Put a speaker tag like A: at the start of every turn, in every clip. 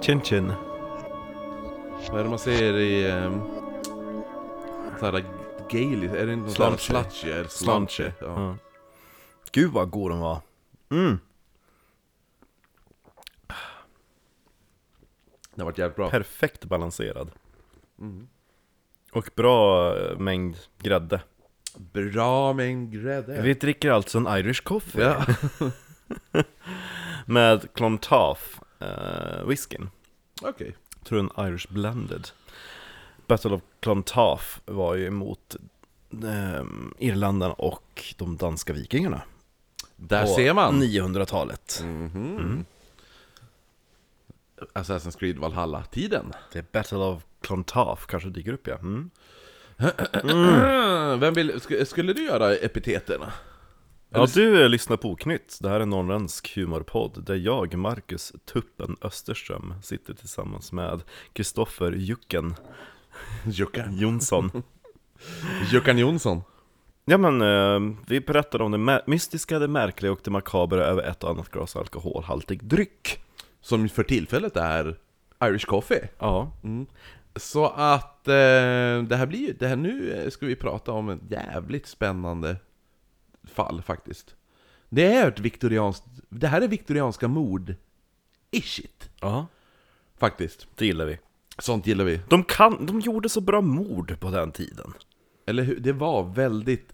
A: Chin chin.
B: Vad är det man säger i... Um, såhär gaily? Är det inte
A: Slanche.
B: något såhär slouchy? Är det Slanche. Ja.
A: Ja. Gud vad god den var. Mm,
B: Det har varit jävligt bra.
A: perfekt balanserad.
B: Mm.
A: Och bra eh, mängd grädde.
B: Bra mängd grädde.
A: Vi dricker alltså en Irish coffee
B: Ja.
A: med Clontarf uh, whiskyn.
B: Okej.
A: tror en Irish Blended. Battle of Clontarf var ju emot ehm, Irlanden och de danska vikingarna.
B: Där
A: på
B: ser man! Mm. Mhm.
A: 900-talet.
B: Assassin's Creed Valhalla-tiden.
A: Det är Battle of Clontarf kanske dyker upp ja. Mm.
B: Vem vill... sk- Skulle du göra epiteterna?
A: Ja, du eh, lyssnar på Oknytt. Det här är Norrländsk humorpodd där jag, Marcus Tuppen Österström, sitter tillsammans med Kristoffer Jucken
B: Jockan.
A: Jonsson.
B: Jockan Jonsson.
A: Ja men, eh, vi berättar om det mä- mystiska, det märkliga och det makabra över ett och annat glas alkoholhaltig dryck.
B: Som för tillfället är Irish Coffee.
A: Ja.
B: Så att eh, det här blir ju, det här nu eh, ska vi prata om ett jävligt spännande fall faktiskt. Det är ett viktorianskt, det här är viktorianska mord ishit
A: Ja.
B: faktiskt.
A: Det gillar vi.
B: Sånt gillar vi.
A: De, kan, de gjorde så bra mord på den tiden.
B: Eller hur? Det var väldigt,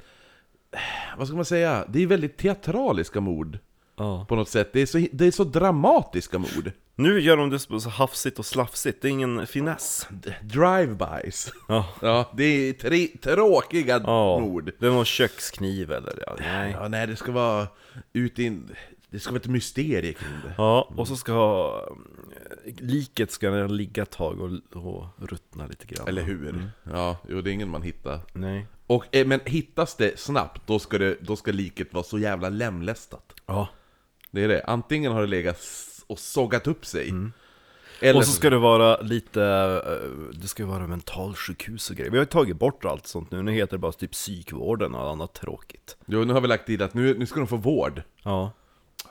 B: eh, vad ska man säga? Det är väldigt teatraliska mord
A: Ja.
B: på något sätt. Det är så, det är så dramatiska mord.
A: Nu gör de det så hafsigt och slafsigt, det är ingen finess.
B: D- Drive-bys.
A: Ja.
B: Ja, det är tre, tråkiga
A: Ja.
B: mord.
A: Det är någon kökskniv eller? Ja, nej.
B: Ja, nej, det ska vara ut i en, Det ska vara ett mysterium kring det.
A: Ja, och så ska eh, liket ska ligga ett tag och, och ruttna lite grann.
B: Eller hur?
A: Mm.
B: Ja, jo, det är ingen man hittar.
A: Nej.
B: Och, eh, men hittas det snabbt, då ska, det, då ska liket vara så jävla lemlästat.
A: Ja.
B: Det är det. Antingen har det legat s- och sågat upp sig. Eller
A: Mm. Och så ska det vara lite, eh, det ska vara mentalsjukhus och grejer. Vi har ju tagit bort allt sånt nu, nu heter det bara typ psykvården och annat tråkigt.
B: Jo, nu har vi lagt till att nu, nu ska de få vård.
A: Ja.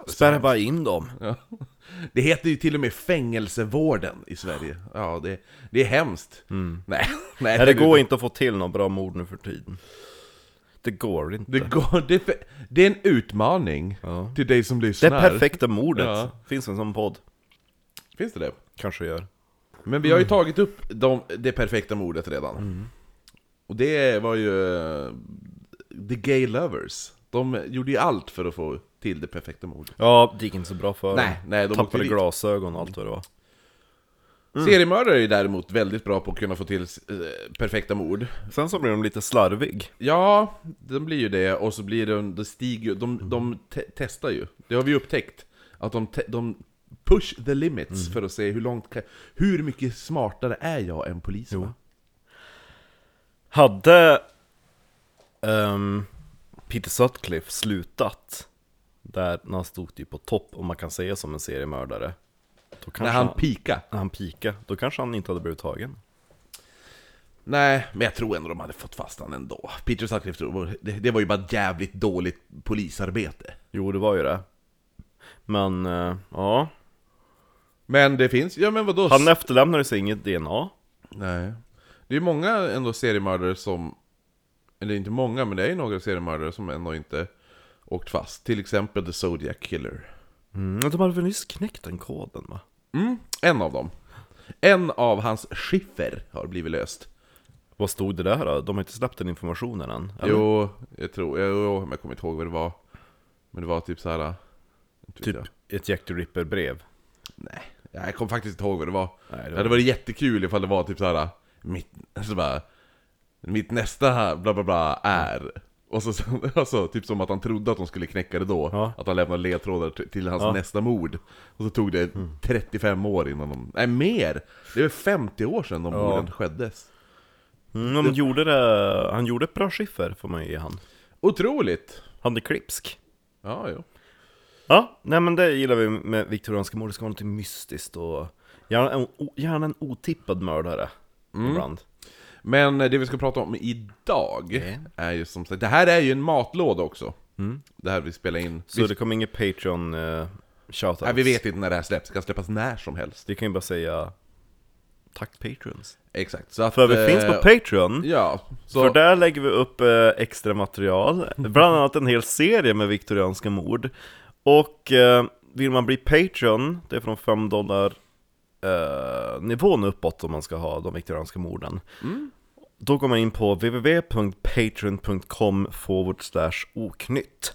A: Spärra bara in dem.
B: Ja. Det heter ju till och med fängelsevården i Sverige. Ja, det, det är hemskt. Nej, nej,
A: Mm. Nej, det
B: herregud.
A: går inte att få till någon bra mord nu för tiden. Det går inte.
B: Det, går, det, är fe- det är en utmaning
A: Ja.
B: till dig som
A: Det
B: lyssnar.
A: perfekta mordet
B: Ja.
A: finns en sån podd.
B: Finns det det?
A: Kanske gör.
B: Men vi har ju tagit upp de, det perfekta mordet redan.
A: Mm.
B: Och det var ju eh, The Gay Lovers. De gjorde ju allt för att få till det perfekta mordet.
A: Ja, det gick inte så bra för
B: Nej,
A: dem.
B: nej, de åkte
A: Tappade Mm.
B: dit.
A: glasögon och allt vad det var.
B: Seriemördare är ju däremot väldigt bra på att kunna få till eh, perfekta mord.
A: Sen så blev de lite slarvig.
B: Ja, de blir ju det, och så blir de, de stiger ju-
A: Mm.
B: de, de te- testar ju. Det har vi upptäckt. Att de, te- de push the limits
A: Mm.
B: för att se hur långt kan, Hur mycket smartare är jag än polisen? va?
A: Hade ehm, Peter Sutcliffe slutat där när han stod typ på topp, om man kan säga som en seriemördare. Då kanske
B: När han pika.
A: när han pika, då kanske han inte hade blivit tagen.
B: Nej, men jag tror ändå de hade fått fast han ändå. Peter Sutcliffe, tror jag, det, det var ju bara ett jävligt dåligt polisarbete.
A: Jo, det var ju det. Men, eh, ja.
B: Men det finns, ja men vadå?
A: Han efterlämnade sig inget DNA.
B: Nej. Det är ju många ändå seriemördare som... Eller inte många, men det är ju några seriemördare som ändå inte åkt fast. Till exempel The Zodiac Killer.
A: Mm, de hade väl nyss knäckt den koden va?
B: Mm, en av dem. En av hans skiffer har blivit löst.
A: Vad stod det där då? De har inte släppt den informationen än? eller?
B: Jo, jag tror... Jo, men jag kommer inte ihåg vad det var. Men det var typ så här. inte vet
A: typ
B: jag.
A: ett Jack the Ripper-brev.
B: Nej, ja, jag kommer faktiskt inte ihåg vad det var.
A: Nej, det
B: det,
A: var-
B: var... det var jättekul ifall det var typ såhär, mitt, så bara, mitt nästa här, bla bla bla är... Och så, så- alltså, typ som att han trodde att de skulle knäcka det då,
A: Ja.
B: att han lämnade ledtrådar t- till hans
A: Ja. Mm.
B: nästa mord. Och så tog det 35 år innan de... Nej, mer! Det var 50 år sedan de morden skeddes.
A: Mm, de gjorde det, han gjorde ett bra skiffer får man ju ge han.
B: Otroligt!
A: Han är klipsk.
B: Ja, jo.
A: Ja, nej men det gillar vi med viktorianska mord, det ska vara något mystiskt och gärna en, o- gärna en otippad mördare
B: Mm.
A: ibland.
B: Men eh, det vi ska prata om idag är ju som
A: Mm.
B: sagt, det här är ju en matlåda också. Det här vi spelar in.
A: Så det kommer inget Patreon eh, Shoutouts.
B: Nej, vi vet inte när det här släpps, det kan släppas när som helst.
A: Vi kan ju bara säga tack Patreons.
B: Exakt, så att...
A: För vi finns på
B: eh,
A: Patreon.
B: Ja, så...
A: För där lägger vi upp eh, extra material, bland annat en hel serie med viktorianska mord. Och eh, vill man bli Patreon, det är från 5 dollar eh, nivån uppåt om man ska ha de viktorianska morden. Då går man in på www.patreon.com forward slash oknytt.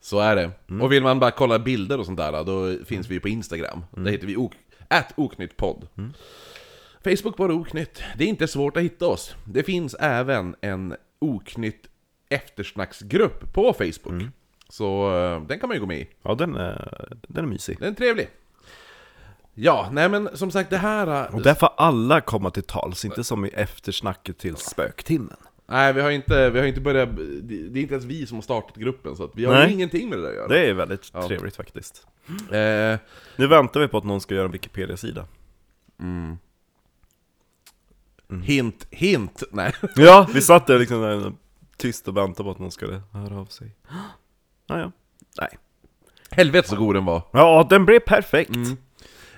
B: Så är det.
A: Mm.
B: Och vill man bara kolla bilder och sånt där, då finns vi på Instagram.
A: Mm.
B: Där hittar vi ok at oknyttpodd. Facebook bara oknytt. Det är inte svårt att hitta oss. Det finns även en oknytt eftersnacksgrupp på Facebook.
A: Mm.
B: Så eh, den kan man ju gå med i.
A: Ja, den är, den är mysig.
B: Den är trevlig. Ja, nej men som sagt det här... eh,
A: Och där får alla komma till tals, inte som i eftersnacket till spöktimmen.
B: Nej, vi har inte, vi har inte börjat... Det det är inte ens vi som har startat gruppen, så att vi har
A: Nej.
B: ju ingenting med det där att göra.
A: Det är väldigt trevligt faktiskt.
B: Eh,
A: Nu väntar vi på att någon ska göra en Wikipedia-sida. Mm.
B: Hint, hint! Nej.
A: Ja, vi satt där liksom där, tyst och väntade på att någon skulle höra av sig. Ja, ja. Nej.
B: Helvete så god den var.
A: Ja, den blev perfekt!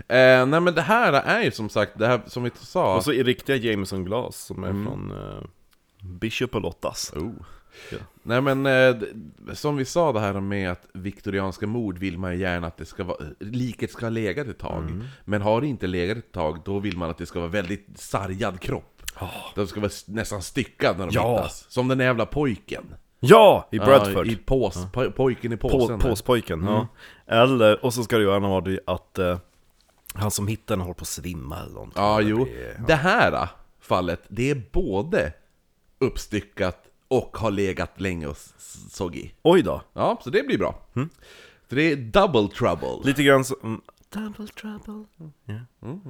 B: Eh, nej men det här är ju som sagt, det här som vi sa...
A: Och så i riktiga Jameson Glass som är från uh, Bishop och Lottas. Ja.
B: Nej men, eh, d- som vi sa det här med att viktorianska mord vill man ju gärna att det ska vara, liket ska ha legat ett tag.
A: Mm.
B: Men har det inte legat ett tag, då vill man att det ska vara väldigt sargad kropp. De ska vara s- nästan styckad när de
A: Ah. Ja.
B: hittas. Som den jävla pojken.
A: Ja! I Mm. Bradford.
B: Ja, I pås, po- pojken i
A: På-
B: påsen. där.
A: Påspojken, ja. Eller, och så ska det ju gärna vara det att eh, han som hittar den håller på att svimma eller någonting.
B: Ja,
A: Eller
B: jo.
A: blir-
B: Det här ah, fallet, det är både uppstyckat och har legat länge och s- s- såg i.
A: Oj då.
B: Ja, så det blir bra. Så det är double trouble.
A: Lite grann som... mm, Double trouble. Ja.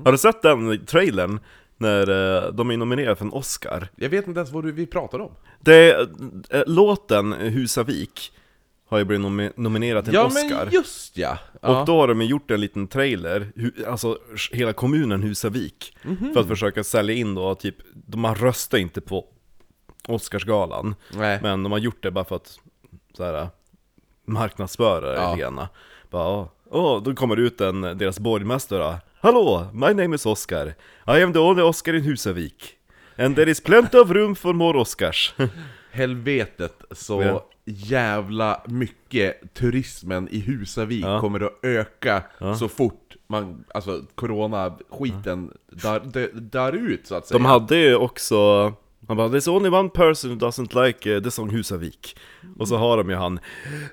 A: Har du sett den trailern? När eh, de är nominerade för en Oscar.
B: Jag vet inte ens vad du, vi pratar om.
A: Det, eh, låten Husavik har ju blivit nomi- nominerad till en
B: Ja,
A: Oscar.
B: men just ja. ja.
A: Och då har de ju gjort en liten trailer, hu- alltså sh- hela kommunen Husavik,
B: Mhm.
A: för att försöka sälja in då, typ, de- man röstar inte på Oscarsgalan,
B: Nej.
A: men de har gjort det bara för att så här, marknadsföra det
B: Ja.
A: lite grann. Bara, åh, åh, då kommer det ut en, deras borgmästare då. Hallå, my name is Oscar. I am the only Oscar in Husavik. And there is plenty of room for more Oscars.
B: Helvetet så
A: Ja.
B: jävla mycket turismen i Husavik kommer att öka så fort man, alltså corona-skiten dör, dö- dör ut så att säga.
A: De hade ju också, han bara 'There's only one person who doesn't like eh, the song Husavik' Och så har de ju han,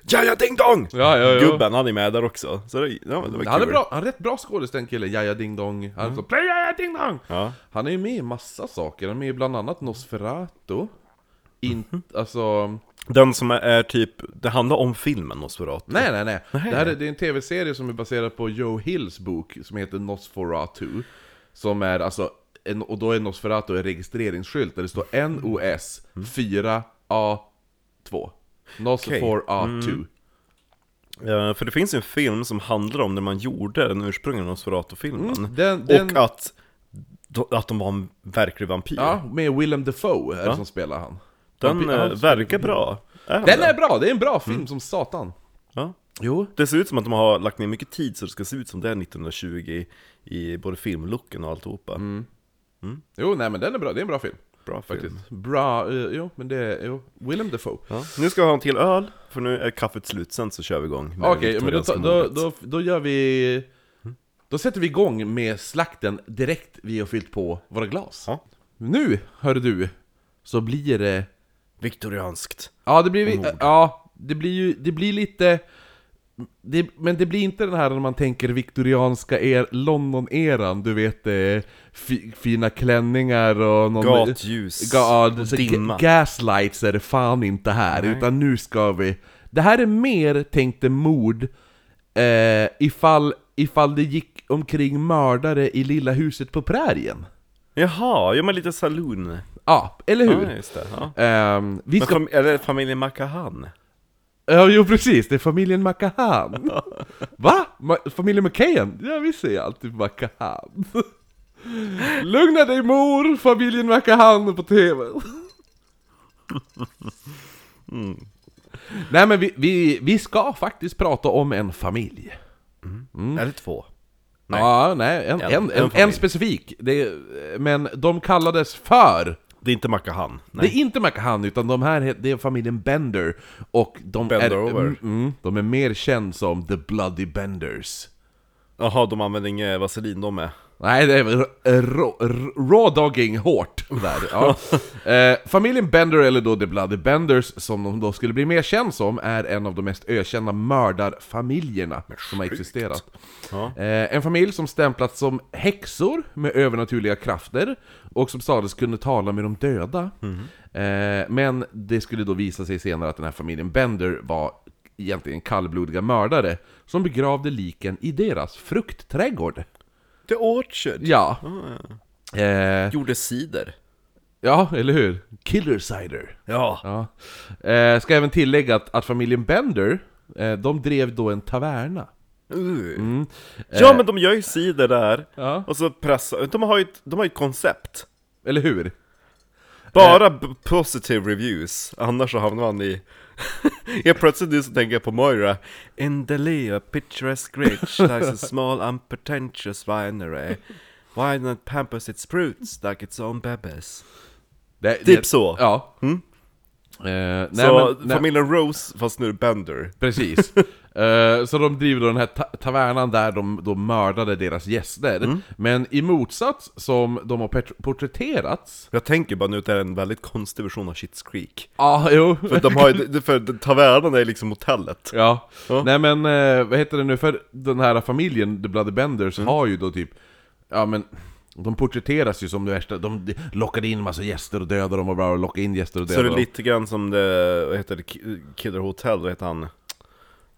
A: Jaja Ding Dong!
B: Ja, ja, ja.
A: Gubben, han är med där också. Så det, ja, men det var
B: han är
A: kul.
B: bra, han är rätt bra skådis den killen, Jaja Ding Dong. Han är så, play Jaja Ding Dong!
A: Mm. Ja.
B: Han är ju med i massa saker, han är med i bland annat Nosferatu. In,
A: Mhm.
B: alltså,
A: Den som är, är typ, det handlar om filmen Nosferatu.
B: nej nej nej. Det här är, det är en tv-serie som är baserad på Joe Hills bok som heter Nosferatu. Som är alltså, en, och då är Nosferatu en registreringsskylt där det står NOS
A: Mm.
B: 4A2. Nosferatu.
A: Eh, för det finns ju en film som handlar om när man gjorde den ursprungliga Nosferatu-filmen.
B: Mm, den- den-
A: Och att, då- att de var en verklig vampyr.
B: Ja, med Willem Dafoe är det som spelar han.
A: den
B: Han-
A: eh,
B: han-
A: verkar bra. han
B: Den
A: det?
B: är bra, Mm. det är en bra film som satan.
A: Ja.
B: Jo.
A: Det ser ut som att de har lagt ner mycket tid så det ska se ut som det är 1920 i både filmlooken och alltihopa.
B: Jo, nej men den är bra, det är en Mm. bra film.
A: Bra film.
B: Faktiskt. Bra, eh, jo men det är, jo, Willem Dafoe.
A: Ja. Nu ska jag ha en till öl, för nu är kaffet slut, sen så kör vi igång med
B: Okej, men då,
A: viktorianska
B: ta- då,
A: mordet.
B: då, då gör vi... Då sätter vi igång med slakten direkt vi har fyllt på våra glas.
A: Ja.
B: Nu, hör du, så blir det...
A: Viktorianskt.
B: Ja, det blir... Ja, det blir ju... Det blir lite... Det, men det blir inte den här när man tänker viktorianska er, London-eran, du vet eh, fi, fina klänningar och någon...
A: Gatljus,
B: Ga,
A: och
B: så
A: dimma.
B: ga- gaslights är det fan inte här, utan nu ska vi... Det här är mer tänkte mord, eh, ifall, ifall det gick omkring mördare i lilla huset på prärien.
A: Jaha, ja men lite saloon.
B: Ja, eller hur?
A: Ja, just det. Ja.
B: Ehm, vi
A: Men
B: ska...
A: fam- eller familjen Macahan.
B: Ja, jo precis, det är familjen Macahan. Va? Ma- familjen McCain? Ja, vi säger alltid Macahan. Lugna dig mor, familjen Macahan är på TV. Mm. Nej men vi, vi, vi ska faktiskt prata om en familj. Mm.
A: Eller två. Nej.
B: Nej. Ja, nej,
A: En-
B: en, en, en,
A: en
B: en,
A: familj.
B: specifik. Det, är- men de kallades för...
A: Det är inte Macahan.
B: Det
A: Nej.
B: är inte Macahan, utan de här het- det är familjen Bender. Och de
A: Bender
B: är,
A: over.
B: Mm, Mm, de är mer känd som The Bloody Benders.
A: Jaha, de använder inget vaselin de med.
B: Nej, det är väl raw- raw dogging hårt där. Ja. Eh, familjen Bender, eller då The Bloody Benders, som de då skulle bli mer känd som, är en av de mest ökända mördarfamiljerna som har existerat.
A: Ja.
B: Eh, en familj som stämplats som häxor med övernaturliga krafter, och som sades kunna tala med de döda. Eh, men det skulle då visa sig senare att den här familjen Bender var egentligen kallblodiga mördare, som begravde liken i deras fruktträdgård.
A: The Orchard!
B: Ja. Eh,
A: Gjorde cider.
B: ja, eller hur? Killer cider.
A: Ja.
B: Ja. Eh, ska även tillägga att, att familjen Bender, eh, de drev då en taverna.
A: Uh.
B: Mm.
A: Ja
B: Eh,
A: men de gör ju cider där,
B: Ja.
A: och så pressar, de har ju ett, de har ju ett koncept
B: Eller hur?
A: Bara
B: Eh.
A: b- positive reviews, annars så hamnar man i... Helt plötsligt nu så tänker jag på Moira In the lea, picturesque ridge, lies a small unpretentious winery Why not pampers its fruits like its own bebis?
B: Det,
A: Typ så!
B: Ja.
A: Mm.
B: Eh, nej,
A: så
B: men, nej,
A: familjen Rose, fast nu Bender
B: Precis. Eh, så de driver då den här ta- tavernan där de då mördade deras gäster.
A: Mm.
B: Men i motsats som de har pet- porträtterats...
A: Jag tänker bara nu att det är en väldigt konstig version av Shit's Creek
B: Ja, ah, jo.
A: För de har ju, för tavernan är liksom hotellet
B: Ja.
A: Ja.
B: Nej men, eh, vad heter det nu, för den här familjen, The Bloody Benders,
A: Mm.
B: har ju då typ, ja men, de porträtteras ju som det värsta, de de lockade in massa gäster och dödade dem och bara lockade in gäster och
A: Så det
B: dödade
A: är
B: dem.
A: lite grann som det, vad heter det, Ki- Killer Hotel, vad heter han?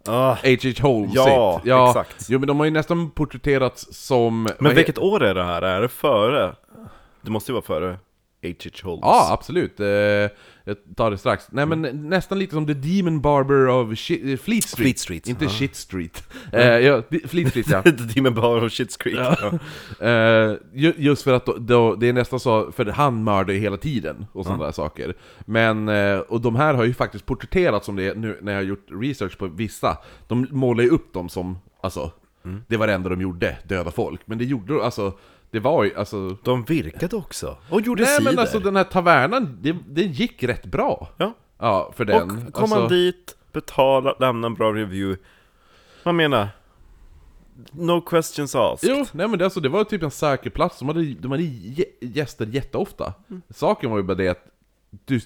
A: Ah,
B: H.H. Holmes
A: Ja,
B: sitt. ja,
A: exakt.
B: Jo men de har ju nästan porträtterats som... vad
A: men
B: he-
A: vilket år är det här? Är det före? Det måste ju vara före H.H. Holmes
B: Ja, absolut. Eh, jag tar det strax. Nej men nästan lite som The Demon Barber of Shi- eh, Fleet
A: Mm.
B: Street.
A: Fleet Street,
B: Inte
A: ja.
B: Shit Street. Eh, ja, di- Fleet Street ja.
A: The Demon Bar och Shit's Creek ja.
B: Eh, ju- just för att då, då, det är nästan så, för han mördar ju hela tiden och sådana där saker. Men, eh, och de här har ju faktiskt porträtterats som det är nu när jag har gjort research på vissa. De målar ju upp dem som, alltså,
A: Mm.
B: det var det enda de gjorde, döda folk. Men det gjorde de, alltså, det var ju, alltså...
A: De virkade också, och gjorde
B: Nej
A: cider
B: men alltså den här tavernan, det, det gick rätt bra.
A: ja.
B: Ja, för
A: Och
B: den.
A: kom
B: alltså,
A: man dit, betala, lämna en bra review Vad menar? No questions asked
B: Jo, nej men det, alltså, det var typ en säker plats, de hade, de hade gä- gäster jätteofta. Saken var ju bara det att du,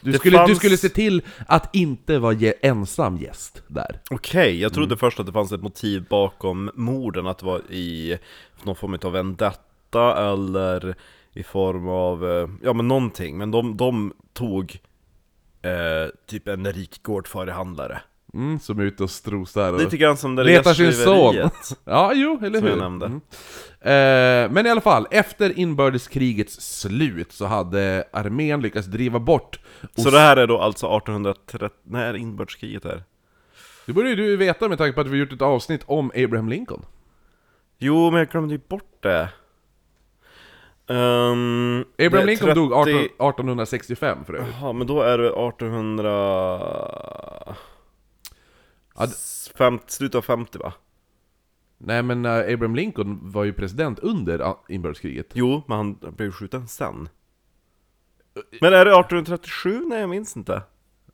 B: du,
A: Det
B: skulle, du
A: fanns-
B: skulle se till att inte vara ge- ensam gäst där.
A: Okej, jag trodde
B: Mm.
A: först att det fanns ett motiv bakom morden, att det var i någon form av vendetta eller i form av, eh, ja men någonting, men de, de tog eh, typ en rik gårdfarihandlare.
B: Mm, som är ute och strosar och...
A: Lite grann som det
B: Letar sin
A: gästgiveriet
B: Ja, jo, eller
A: som
B: hur? Mm.
A: jag nämnde.
B: Eh, men i alla fall, efter inbördeskrigets slut så hade armén lyckats driva bort...
A: Så det här är då alltså 1830, när är inbördeskriget här?
B: Det borde ju du veta med tanke på att vi gjort ett avsnitt om Abraham Lincoln.
A: Jo, men jag glömde ju bort det. Ehm, det är
B: Abraham Lincoln dog 18,
A: 30
B: 1865 för övrigt.
A: Jaha, men då är det 1800...
B: Ja, d-
A: Fem, slutet av 50 va?
B: Nej men eh, Abraham Lincoln var ju president under ah, inbördeskriget.
A: Jo, men han blev skjuten sen. Men är det 1837? Nej, jag minns inte.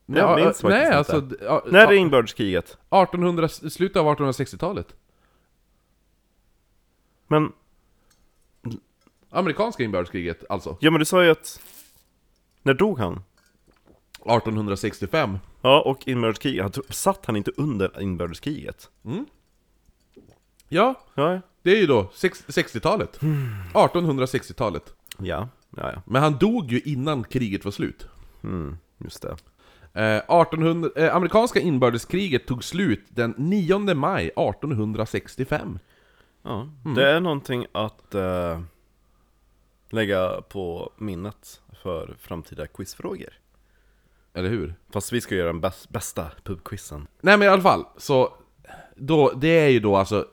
A: Nej, jag minns faktiskt
B: nej,
A: inte.
B: alltså, d- ja,
A: När är det inbördeskriget?
B: 1800, slutet av 1860-talet.
A: Men,
B: Amerikanska inbördeskriget alltså.
A: ja men du sa ju att... När dog han?
B: 1865.
A: Ja, och inbördeskriget. Han, tro- satt han inte under inbördeskriget?
B: Ja,
A: Ja,
B: det är ju då sex- 60-talet.
A: Hmm.
B: 1860-talet.
A: ja, ja, ja.
B: Men han dog ju innan kriget var slut.
A: Mm, just det.
B: Eh, 1800, eh, amerikanska inbördeskriget tog slut den 9 maj 1865.
A: Ja, det är någonting att eh, lägga på minnet för framtida quizfrågor.
B: Eller hur?
A: Fast vi ska göra den bäst, bästa pubquizen.
B: Nej men i alla fall, så då, det är ju då alltså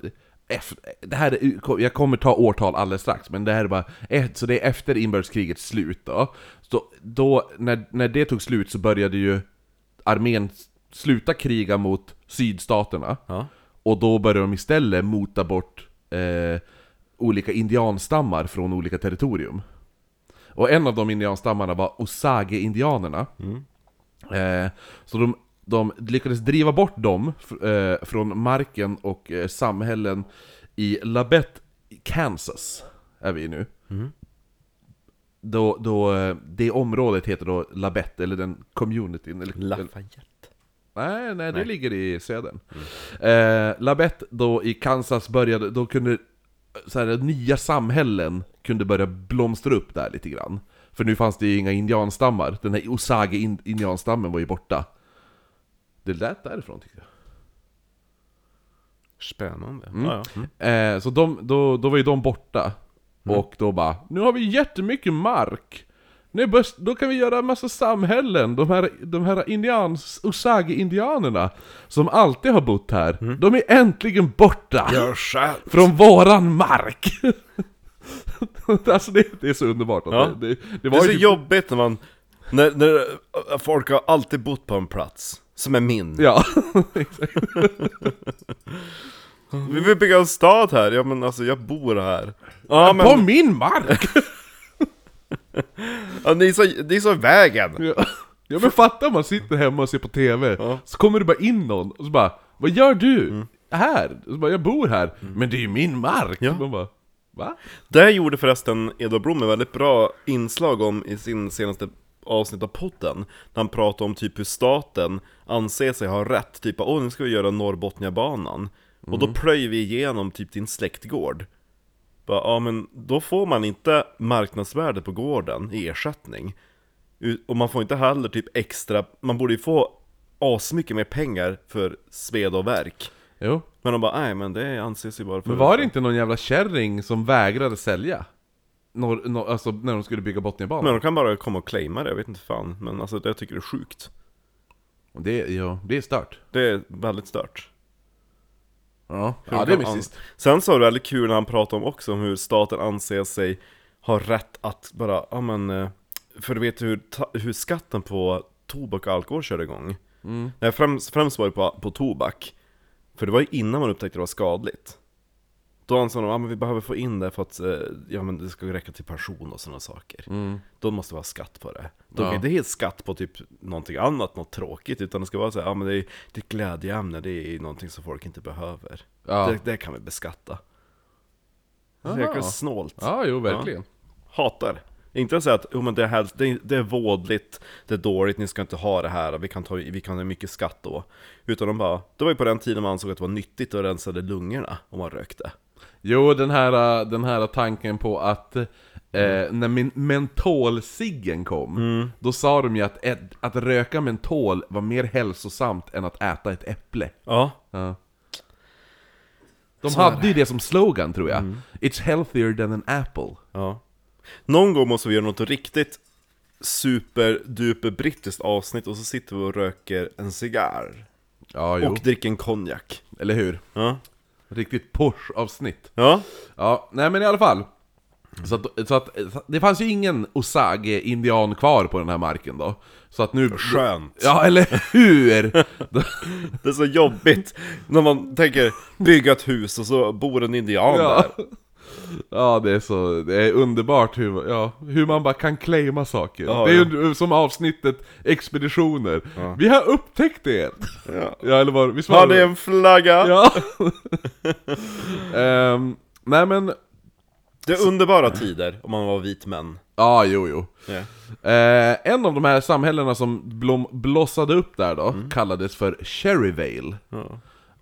B: eff- det här är, jag kommer ta årtal alldeles strax, men det här är bara ett, Så det är efter inbördeskrigets slut då. Så då när, när det tog slut så började ju armén s- sluta kriga mot sydstaterna.
A: Ja.
B: Och då börjar de istället mota bort eh, olika indianstammar från olika territorium. Och en av de indianstammarna var Osage-indianerna. Eh, så de, de lyckades driva bort dem fr- eh, från marken och eh, samhällen i Labette, Kansas, är vi nu. Då, då, eh, det området heter då Labette, eller den communityn. Eller, eller-
A: Lafayette.
B: Nej, nej, det
A: Nej.
B: ligger i södern. Eh, Labette då i Kansas började, då kunde så här, nya samhällen kunde börja blomstra upp där lite grann. För nu fanns det ju inga indianstammar, den här Osage-indianstammen var ju borta. Det lät därifrån tycker jag.
A: Spännande. Ja, ja. Mm.
B: Eh, så de, då, då var ju de borta. Och då bara, nu har vi jättemycket mark! Nu bör, då kan vi göra en massa samhällen, de här, de här indians, Osage-indianerna som alltid har bott här,
A: Mm.
B: de är äntligen borta!
A: Gör själv!
B: Från våran mark! alltså det, det är så underbart att
A: Ja.
B: det, det, det
A: Det
B: var
A: är så
B: ju...
A: jobbigt när man, när, när äh, folk har alltid bott på en plats som är min.
B: Ja, exakt.
A: Vi vill bygga en stad här, ja men alltså jag bor här. Ja
B: På
A: men,
B: min mark!
A: ja, ni, är så, ni är så i vägen!
B: Ja. ja men fatta om man sitter hemma och ser på TV, så kommer det bara in någon och så bara Vad gör du?
A: Mm.
B: Här? Och så bara, jag bor här, men det är ju min mark!
A: Ja.
B: Man bara, Va?
A: Det här gjorde förresten Edvard Blom ett väldigt bra inslag om i sin senaste avsnitt av podden. När han pratade om typ hur staten anser sig ha rätt, typ åh nu ska vi göra Norrbotniabanan. Och
B: Mm.
A: då plöjer vi igenom typ din släktgård. Bara, ja men då får man inte marknadsvärde på gården i ersättning. U- Och man får inte heller typ extra, man borde ju få asmycket mer pengar för sveda och verk.
B: Jo,
A: Men de bara, nej men det anses ju bara för...
B: men var det inte någon jävla kärring som vägrade sälja? Norr, norr, alltså när de skulle bygga Botniabanan?
A: Men de kan bara komma och claima det, jag vet inte fan. Men alltså det jag tycker det är sjukt.
B: Och Det, ja, det är stört.
A: Det är väldigt stört.
B: Ja,
A: Hur
B: ja det är
A: kan
B: mysigt.
A: an- Sen så var det väldigt kul när han pratade om också om hur staten anser sig ha rätt att bara, ja men... eh, För du vet hur, ta- hur skatten på tobak och alkohol körde igång.
B: Mm.
A: Nej, främst, främst var det på, på tobak. För det var ju innan man upptäckte det var skadligt. Då ansåg de att men vi behöver få in det för att eh, ja, men det ska räcka till pension och sådana saker. Då måste det vara skatt på det. Då
B: Mm. Ja.
A: är det helt skatt på typ någonting annat, något tråkigt. Utan det ska vara så här, ja, men det är det är ett glädjeämne, det är någonting som folk inte behöver.
B: Ja.
A: Det, det kan vi beskatta. Det är
B: Aha.
A: jäkla snålt.
B: Ja, jo verkligen.
A: Hatar. Inte att säga att jo, men det, är häls- det, är, det är vådligt, det är dåligt, ni ska inte ha det här, vi kan, ta, vi kan ha mycket skatt då. Utan de bara, det var ju på den tiden man ansåg att det var nyttigt att rensa lungorna om man rökte.
B: Jo, den här, äh, den här tanken på att eh,
A: Mm.
B: när min mentolsiggen kom, då sa de ju att, ett, att röka mentol var mer hälsosamt än att äta ett äpple.
A: Ja,
B: Ja. De
A: Så är Mm.
B: hade ju det som slogan tror jag. It's healthier than an apple.
A: ja. Någon gång måste vi göra något riktigt superduper brittiskt avsnitt och så sitter vi och röker en cigarr.
B: Ja, jo.
A: Och dricker en konjak.
B: Eller hur?
A: Ja.
B: Riktigt Porsche-avsnitt.
A: ja.
B: Ja, nej men i alla fall. Så att, så att det fanns ju ingen Osage-indian kvar på den här marken då. Så att nu...
A: Skönt.
B: Ja, eller hur?
A: Det är så jobbigt när man tänker bygga ett hus och så bor en indian där.
B: Ja. ja, det är så, det är underbart hur, ja, hur man bara kan claima saker.
A: Ja,
B: det är
A: ja.
B: ju som avsnittet expeditioner. Vi har upptäckt det!
A: Ja.
B: Ja, eller var, visst var
A: Har ni en flagga?
B: Ja! Ehm, nej men,
A: Det är underbara tider om man var vit man.
B: ja jo jo.
A: Ja.
B: Eh, en av de här samhällena som blom, blossade upp där då, kallades för Cherryvale.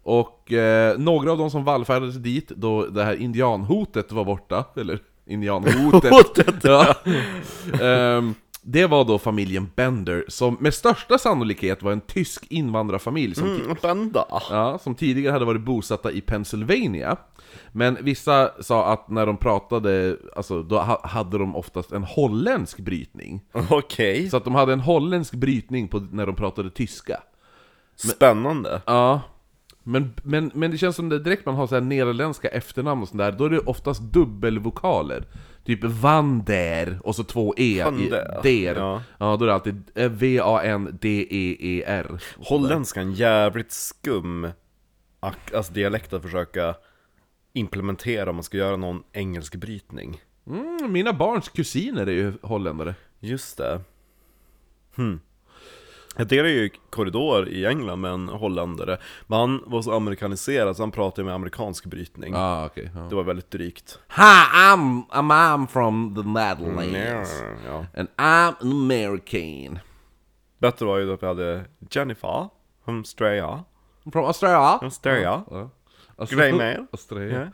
B: Och eh, några av de som vallfärdades dit då det här indianhotet var borta, eller indianhotet. ja. Ehm, det var då familjen Bender, som med största sannolikhet var en tysk invandrarfamilj som
A: Mm, Vända.
B: Ja, som tidigare hade varit bosatta i Pennsylvania. Men vissa sa att när de pratade, alltså då ha- hade de oftast en holländsk brytning.
A: Okej,
B: Så att de hade en holländsk brytning på, när de pratade tyska.
A: spännande.
B: Ja. Men, men, men det känns som det direkt man har så här nederländska efternamn och sånt där, då är det oftast dubbelvokaler. Typ van der och så två e
A: Van
B: i
A: der.
B: der. Ja.
A: Ja.
B: då är det alltid eh, v-a-n-d-e-e-r.
A: Holländskan, jävligt skum ak- alltså dialekt att försöka implementera om man ska göra någon engelsk brytning.
B: Mm, mina barns kusiner är ju holländare.
A: Just det. Hmm. Jag delar ju korridor i England med en holländare, men han var så amerikaniserad så han pratade med amerikansk brytning.
B: Ah, okej. ja.
A: Det var väldigt drygt.
B: Hi, I'm a mom from the Netherlands.
A: Ja.
B: And I'm an American.
A: Bättre var ju då att vi hade Jennifer, Humstrea,
B: From Australia.
A: Humstrea.
B: Ja. Austra-
A: Grej med er.
B: Australia.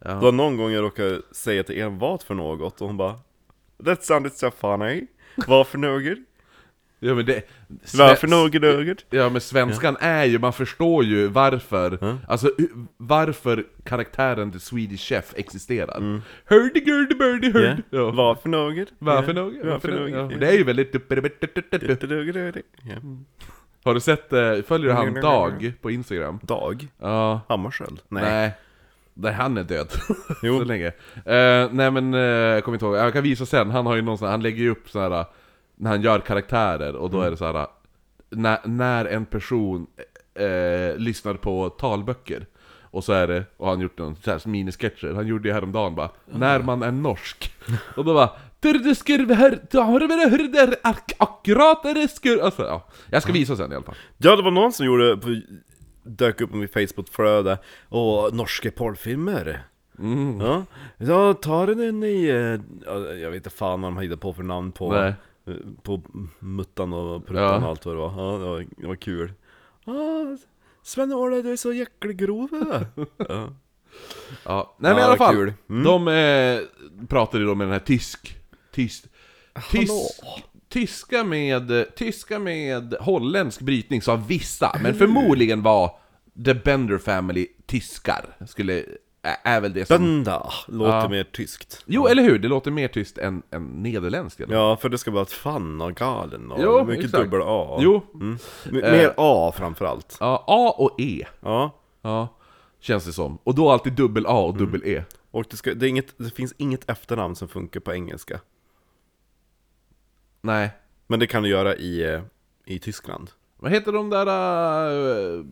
A: Det var någon gång jag råkade säga till er vad för något och hon bara That sounded so funny. Vad för något?
B: Ja men det...
A: Vad för något? något?
B: Ja men svenskan är ju, man förstår ju varför, alltså hu- varför karaktären The Swedish Chef existerar. Mm. Hurdy gurdy birdy hurdy.
A: Ja.
B: Ja.
A: Vad för något?
B: Varför
A: Ja.
B: nog?
A: Vad för
B: nog? Ja.
A: något?
B: men Det är ju väldigt...
A: Dugg-dugg-dugg. Ja.
B: Har du sett, eh, följer du han Dag på Instagram?
A: Dag?
B: Ja.
A: Hammarskjöld? Nej.
B: Nej. Nej, han är död.
A: Jo.
B: så länge. Eh, nej men, eh, jag kommer inte ihåg. Jag kan visa sen. Han har ju någon sån här, han lägger ju upp så här när han gör karaktärer och då
A: Mm.
B: är det så här när, när en person eh, lyssnar på talböcker och så är det, och han har gjort någon så här minisketcher, han gjorde ju häromdagen bara
A: Mm.
B: När man är norsk Och då bara "Tur det skur- hör- du har det hur det är ak- Akkurat är det skur-" Alltså ja, jag
A: Mm.
B: ska visa sen i alla fall
A: Ja, det var någon som gjorde, på, dök upp på mitt Facebook-flöde, och norska porrfilmer. Ja, ja ta den in i, eh, ja, jag vet inte fan vad de hittade på för namn på,
B: Nej.
A: eh, på muttan och pruttan
B: Ja.
A: och allt vad det var. Ja, det var, det var kul. Ah, Sven-Olle, du är så jäkla grov. ja.
B: Ja, nej
A: Ja,
B: men i alla fall.
A: kul. Mm.
B: De eh, pratade ju då med den här tysk... Tysk... Tysk tyska, med, tyska med holländsk brytning sa vissa, men förmodligen var The Bender Family tyskar. Skulle, ä, är väl det som...
A: Bönda låter
B: Ja.
A: mer tyskt.
B: Jo, eller hur? Det låter mer tyskt än, än nederländskt. eller?
A: Ja, för det ska vara ett fan och galen och
B: Jo,
A: mycket
B: exakt.
A: dubbel A.
B: Jo. Eh.
A: Mm. M- Mer A framförallt.
B: Ja, A och E.
A: Ja.
B: Ja, känns det som. Och då alltid dubbel A
A: Mm.
B: och dubbel E.
A: Och det, ska, det, är inget, det finns inget efternamn som funkar på engelska.
B: Nej.
A: Men det kan du göra i, eh, i Tyskland.
B: Vad heter de där... Uh,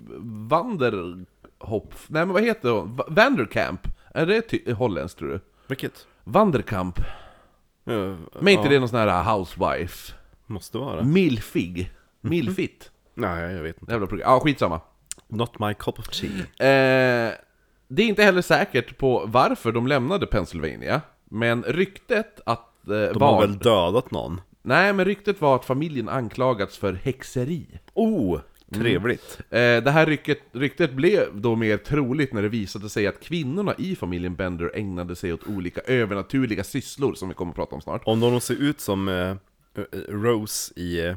B: Vanderhopf? Nej men vad heter de? Va- Vanderkamp? Är det ty- holländskt tror du?
A: Vilket?
B: Vanderkamp?
A: Ja,
B: Men inte det någon sån här eh, housewife?
A: måste vara.
B: Milfig? Milfit?
A: Nej, jag vet inte.
B: Jävla program. Ja, skitsamma.
A: Not my cup of tea.
B: Eh, det är inte heller säkert på varför de lämnade Pennsylvania. Men ryktet att... Eh,
A: De
B: var...
A: har väl dödat någon?
B: Nej, men ryktet var att familjen anklagats för häxeri.
A: Oh, trevligt.
B: Eh, Det här ryktet, ryktet blev då mer troligt när det visade sig att kvinnorna i familjen Bender ägnade sig åt olika övernaturliga sysslor som vi kommer att prata om snart.
A: Om de ser ut som eh, Rose i, eh,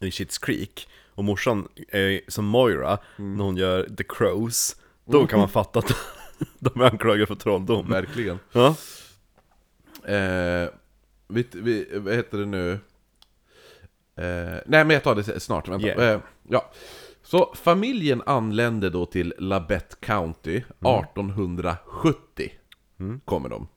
A: i Schitt's Creek och morsan är som Moira när hon gör The Crows, då kan man fatta att de är anklagade för trolldom.
B: Verkligen.
A: Ja.
B: Eh, vi, vi, vad heter det nu? Eh, nej, men jag tar det s- snart. Vänta.
A: Yeah.
B: Eh, ja. Så familjen anlände då till Labette County
A: Mm.
B: 1870. Kommer de.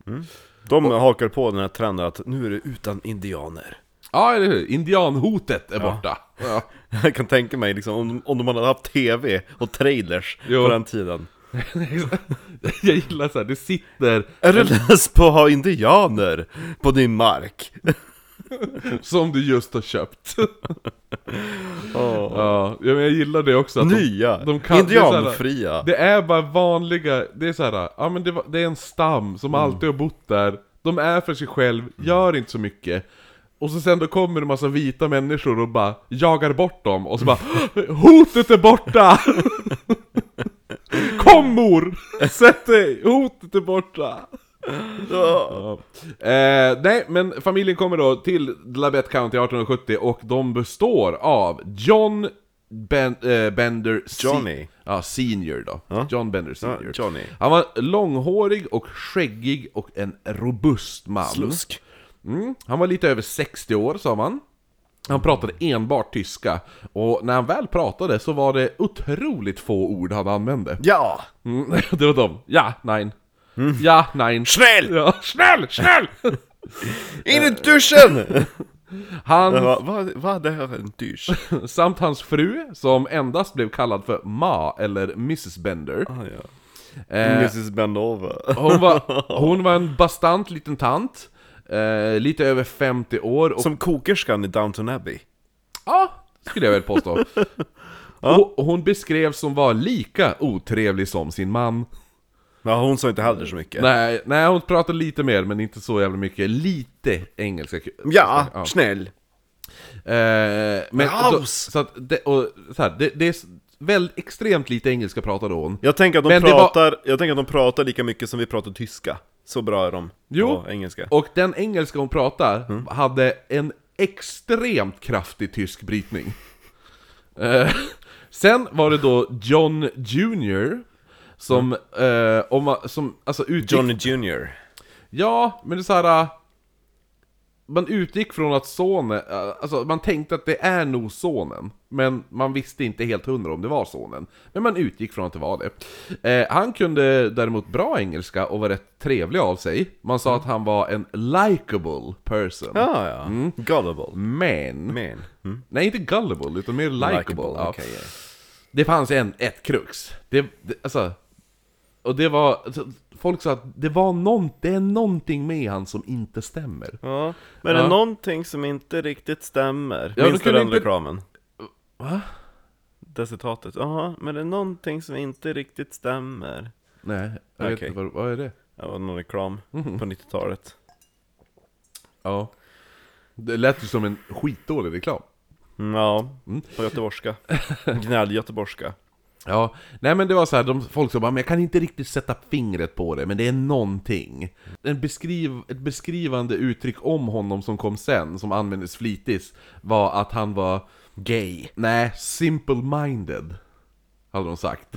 A: De hakar på den här trenden att nu är det utan indianer.
B: Ja, eller hur? Indianhotet är borta. Ja.
A: Jag kan tänka mig liksom, om, om de hade haft TV och trailers
B: Jo.
A: på den tiden.
B: jag gillar så här, det sitter
A: Är du less på att ha indianer på din mark?
B: Som du just har köpt. Ja, ja, men jag gillar det också. Att
A: Nya,
B: de, de kan,
A: indianfria.
B: Det är, så här, det är bara vanliga, det är så här, ja men det, var, det är en stam som alltid har bott där. De är för sig själv, gör inte så mycket. Och så sen då kommer det en massa vita människor och bara jagar bort dem och så bara Hotet är borta! Kom mor! Sätt dig! Hotet är borta! Ja. Eh, nej, men familjen kommer då till Labette County 1870 och de består av John ben, eh, Bender Se-
A: Johnny.
B: ja, Senior då.
A: Ja.
B: John Bender Senior.
A: Ja, Johnny.
B: Han var långhårig och skäggig och en robust man.
A: Slusk.
B: Mm. Han var lite över 60 år sa man. Han pratade enbart tyska och när han väl pratade så var det otroligt få ord han använde.
A: Ja!
B: Mm, det var de. Ja, nein. Ja, nein.
A: Mm. Snäll!
B: Ja, snäll, snäll!
A: In i duschen!
B: Han
A: Vad va, va, det här är en dyrs?
B: samt hans fru, som endast blev kallad för Ma eller Mrs Bender.
A: Ah, ja.
B: Eh,
A: Mrs Bendova.
B: hon, var, hon var en bastant liten tant, eh, lite över 50 år och
A: Som kokerskan i Downton Abbey.
B: Ja, skulle jag väl påstå. Och och hon beskrevs som var lika otrevlig som sin man.
A: Ja, hon sa inte heller så mycket.
B: Nej, nej, hon pratade lite mer men inte så jävla mycket. Lite engelska.
A: Ja, snäll.
B: Eh, men då,
A: Raus!
B: så att det, och, så här, det, det är s- väl extremt lite engelska pratade hon.
A: Jag tänker, att de
B: Men det var-
A: pratar, jag tänker att de pratar lika mycket som vi pratar tyska. Så bra är de
B: Jo.
A: på engelska.
B: Och den engelska hon pratar hade en extremt kraftig tysk brytning. Eh, sen var det då John Jr. Som, eh, om man, som alltså utgick...
A: Johnny Jr.
B: Ja, men det är så här. eh, Man utgick från att sonen, eh, alltså man tänkte att det är nog sonen. Men man visste inte helt hundra om det var sonen. Men man utgick från att det var det. Eh, han kunde däremot bra engelska och var rätt trevlig av sig. Man sa att han var en likable person.
A: Ja, Ah, ja.
B: Mm.
A: Gullible.
B: Men,
A: Men. Mm.
B: nej inte gullible utan mer likable. ja.
A: okej, ja.
B: Det fanns en, ett krux. Det, det alltså... Och det var... alltså, Folk sa att det var någon, det är någonting med han som inte stämmer.
A: Ja, men det
B: Ja.
A: är någonting som inte riktigt stämmer.
B: Ja,
A: Minns
B: då
A: du
B: kunde
A: den
B: inte-
A: reklamen?
B: Va?
A: Det citatet. Ja, men det är någonting som inte riktigt stämmer.
B: Nej, jag vet
A: Okej.
B: inte. Vad, vad är det?
A: Det var någon reklam
B: Mhm.
A: på 90-talet.
B: Ja. Det lät ju som en skitdålig reklam.
A: Mm, Ja, på göteborgska. Gnäll-göteborgska.
B: Ja, nej men det var så här, de, folk sa bara men jag kan inte riktigt sätta fingret på det, men det är någonting. En beskriv, ett beskrivande uttryck om honom som kom sen, som användes flitigt, var att han var gay. Nej, simple-minded, hade de sagt.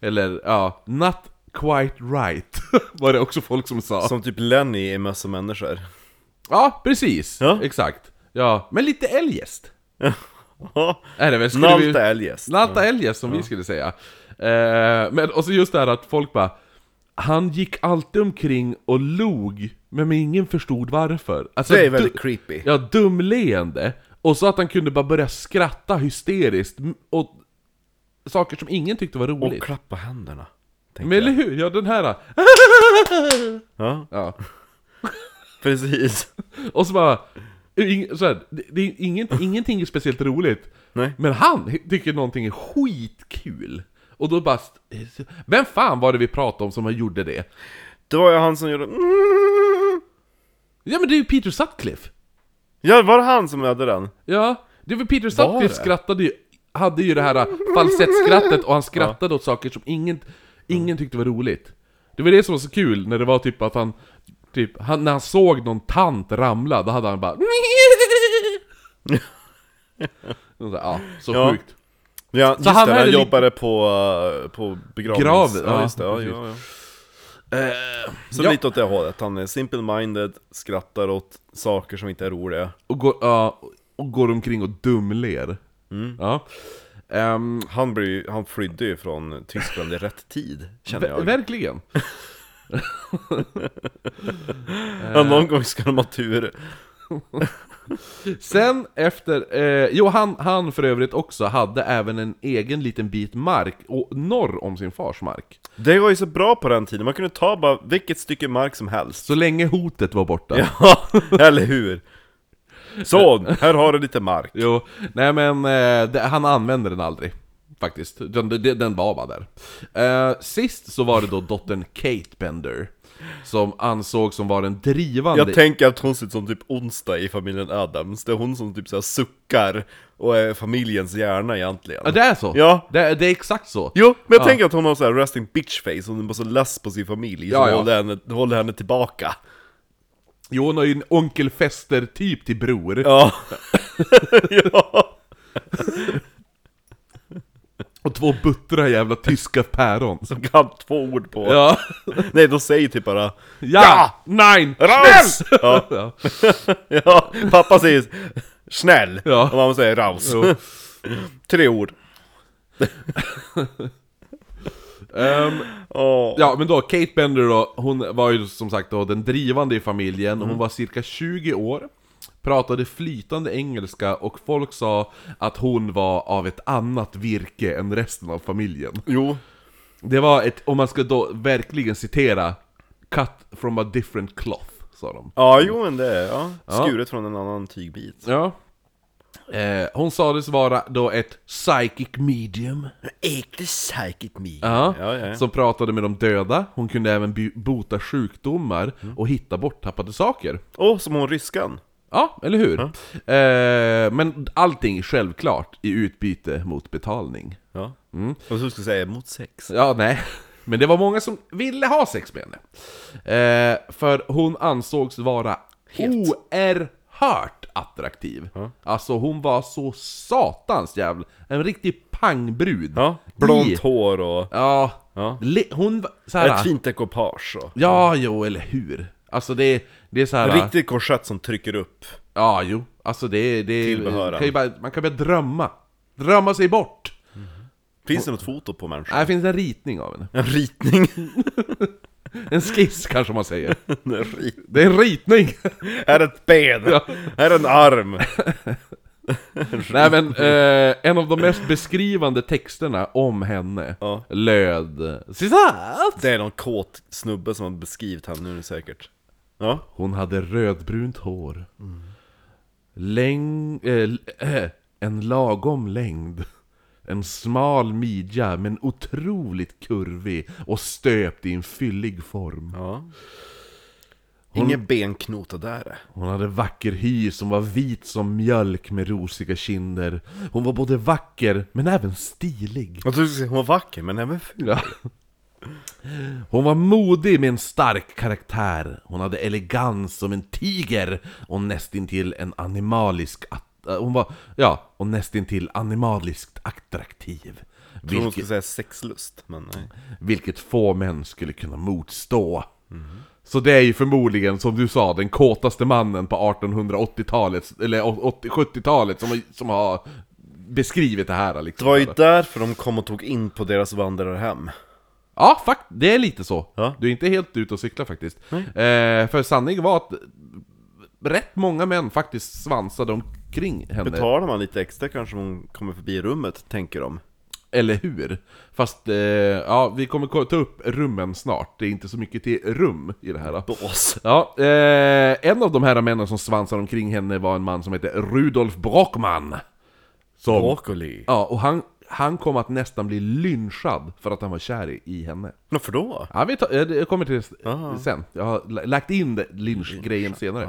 B: Eller ja, not quite right, var det också folk som sa.
A: Som typ Lenny i Möss och människor.
B: Ja, precis,
A: Ja.
B: exakt. Ja, men lite eljest.
A: Ja,
B: Är det väl? Skulle vi-
A: Nalta eljest.
B: Nalta Elias som vi skulle säga. Eh, men och så just det här att folk bara Han gick alltid omkring och log, men ingen förstod varför. Alltså,
A: Det är
B: du-
A: väldigt creepy.
B: Ja, dumleende. Och så att han kunde bara börja skratta hysteriskt m- åt saker som ingen tyckte var
A: Och
B: roligt.
A: klappa händerna. tänker
B: Men eller
A: jag.
B: hur? Ja, den här. ah,
A: Ja,
B: Ja.
A: precis.
B: Och så bara... Ing, så här, det, det är ingen, ingenting är speciellt roligt.
A: Nej.
B: Men han tycker någonting är skitkul. Och då bara... st- Vem fan var det vi pratade om som han gjorde det?
A: Det var ju han som gjorde... Mm.
B: Ja men det är ju Peter Sutcliffe!
A: Ja, var det han som hade den?
B: Ja, det var Peter Sutcliffe
A: det?
B: skrattade ju... Hade ju det här äh, falsettskrattet och han skrattade åt saker som ingen, ingen tyckte var roligt. Det var det som var så kul när det var typ att han... Typ, han, när han såg någon tant ramla, då hade han bara... Och så, ja, så
A: Ja.
B: sjukt.
A: Ja, just
B: han
A: det,
B: hade
A: han
B: lite-
A: jobbade på, eh, på begravnings...
B: Graven, ja,
A: ja, just det, ja,
B: precis.
A: ja, ja.
B: Eh,
A: Så
B: ja,
A: lite åt det hållet, han är simple-minded, skrattar åt saker som inte är roliga
B: och, går, ja, och går omkring och dumler.
A: Mm.
B: Ja. Ehm,
A: Han, blir, ju- han flydde ju från Tyskland i rätt tid, känner
B: ver-
A: jag
B: verkligen.
A: ja, Någon gång ska de ha tur
B: Sen efter, eh, jo han, han för övrigt också hade även en egen liten bit mark och norr om sin fars mark.
A: Det var ju så bra på den tiden, man kunde ta bara vilket stycke mark som helst
B: Så länge hotet var borta.
A: Ja, eller hur? Så, här har du lite mark
B: Jo, nej men eh, det, han använde den aldrig. Faktiskt, den, den, den var bara där. Eh, sist så var det då dottern Kate Bender. Som ansågs som var den drivande
A: Jag tänker att hon ser ut som typ onsdag i familjen Adams Det är hon som typ så här suckar och är familjens hjärna egentligen
B: Ja, det är så!
A: Ja.
B: Det, är- det är exakt så!
A: Jo, men jag tänker att hon har så här resting bitch face, hon är bara så less på sin familj,
B: Ja,
A: som
B: ja.
A: Håller, henne, håller henne tillbaka
B: Jo, hon har ju en onkel Fester-typ till bror.
A: Ja, ja.
B: Och två buttra jävla tyska päron.
A: som kan två ord på
B: Ja!
A: Nej, de säger typ bara
B: Ja! Nein!
A: Raus!
B: Snäll!
A: Ja.
B: Ja.
A: Ja, pappa säger snäll,
B: Ja.
A: och mamma säger raus
B: Jo.
A: Tre ord
B: Ehm,
A: Åh.
B: ja, men då Kate Mm. Bender då, hon var ju som sagt då den drivande i familjen. Hon var cirka 20 år. pratade flytande engelska och folk sa att hon var av ett annat virke än resten av familjen.
A: Jo.
B: Det var ett, om man ska då verkligen citera, 'cut from a different cloth' sa de.
A: Ja, jo men det är ja.
B: Ja.
A: Skuret från en annan tygbit.
B: Ja. Eh, hon sades vara då ett psychic medium.
A: Äkte psychic me.
B: Ja,
A: Ja, ja, ja.
B: Som pratade med de döda, hon kunde även by- bota sjukdomar
A: Mm.
B: och hitta borttappade saker.
A: Åh, som hon ryskan.
B: Ja, eller hur? Eh, men allting självklart i utbyte mot betalning.
A: Ja. Mm.
B: Mm.
A: Och så skulle jag säga mot sex.
B: Ja, nej. Men det var många som ville ha sex med henne. Eh, för hon ansågs vara
A: Helt.
B: oerhört attraktiv. Alltså hon var så satans jävla... En riktig pangbrud.
A: Ja.
B: I-
A: Blont hår och
B: Ja.
A: Ja.
B: Le- hon var
A: ett
B: såhär...
A: fint ekipage och
B: Ja, jo, eller hur? Alltså det, det är såhär...
A: en riktig korsett som trycker upp.
B: Ja, jo. Alltså det, det
A: Tillbehören.
B: kan ju bara, Man kan börja drömma. Drömma sig bort.
A: Finns det något foto på människan?
B: Här finns en ritning av henne.
A: En ritning.
B: En skiss kanske man säger.
A: en rit.
B: Det är en ritning!
A: Här är ett ben. Här är en arm.
B: Nej men, eh, en av de mest beskrivande texterna om henne
A: Ja.
B: löd Citat!
A: Det är någon kåt snubbe som har beskrivit henne nu är det säkert. Ja.
B: Hon hade rödbrunt hår Läng... Eh, l- eh, en lagom längd En smal midja men otroligt kurvig och stöpt i en fyllig form
A: ja. Ingen benknota där.
B: Hon hade vacker hy som var vit som mjölk med rosiga kinder Hon var både vacker men även stilig
A: Jag trodde du skulle säga hon var vacker, men även ful.
B: Ja. Hon var modig med en stark karaktär. Hon hade elegans som en tiger och nästintill en animalisk att- äh, hon var, ja, och nästintill animaliskt attraktiv.
A: Jag trodde hon skulle
B: Vilket,
A: säga sexlust, men nej.
B: vilket få män skulle kunna motstå. Så det är ju förmodligen, som du sa, den kåtaste mannen på 1880-talet, eller 80, 70-talet som, som har beskrivit det här
A: Det
B: liksom.
A: var ju därför de kom och tog in på deras vandrarhem.
B: Ja, fakt det är lite så.
A: Ja.
B: Du är inte helt ute och cyklar faktiskt. Eh, för sanningen var att rätt många män faktiskt svansade omkring henne.
A: Betalar man lite extra kanske hon kommer förbi rummet, tänker de.
B: Eller hur? Fast, eh, ja, vi kommer ko- ta upp rummen snart. Det är inte så mycket till rum i det här. Då.
A: Bås.
B: Ja, eh, en av de här männen som svansade omkring henne var en man som hette Rudolf Brockman. Som,
A: Broccoli.
B: Ja, och han, han kom att nästan bli lynchad för att han var kär i- i henne.
A: Varför då?
B: Ja, vi tar, eh, det- jag kommer till det s- sen. Jag har la- lagt in det- lynch-grejen senare.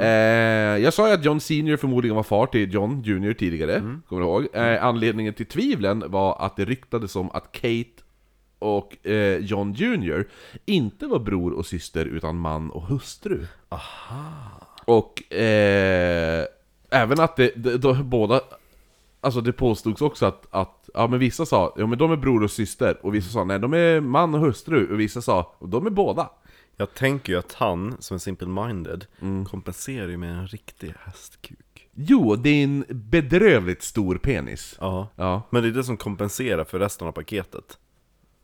B: eh, jag sa ju att John Senior förmodligen var far till John Junior tidigare, kommer du ihåg? Eh, anledningen till tvivlen var att det ryktades om att Kate och eh, John Junior inte var bror och syster utan man och hustru. Och eh, även att det, det, de, båda Alltså det påstods också att, att ja men vissa sa ja men de är bror och syster och vissa sa nej de är man och hustru och vissa sa de är båda.
A: Jag tänker ju att han, som är simple-minded, kompenserar ju med en riktig hästkuk.
B: Jo, det är en bedrövligt stor penis.
A: Ja.
B: Ja,
A: Men det är det som kompenserar för resten av paketet.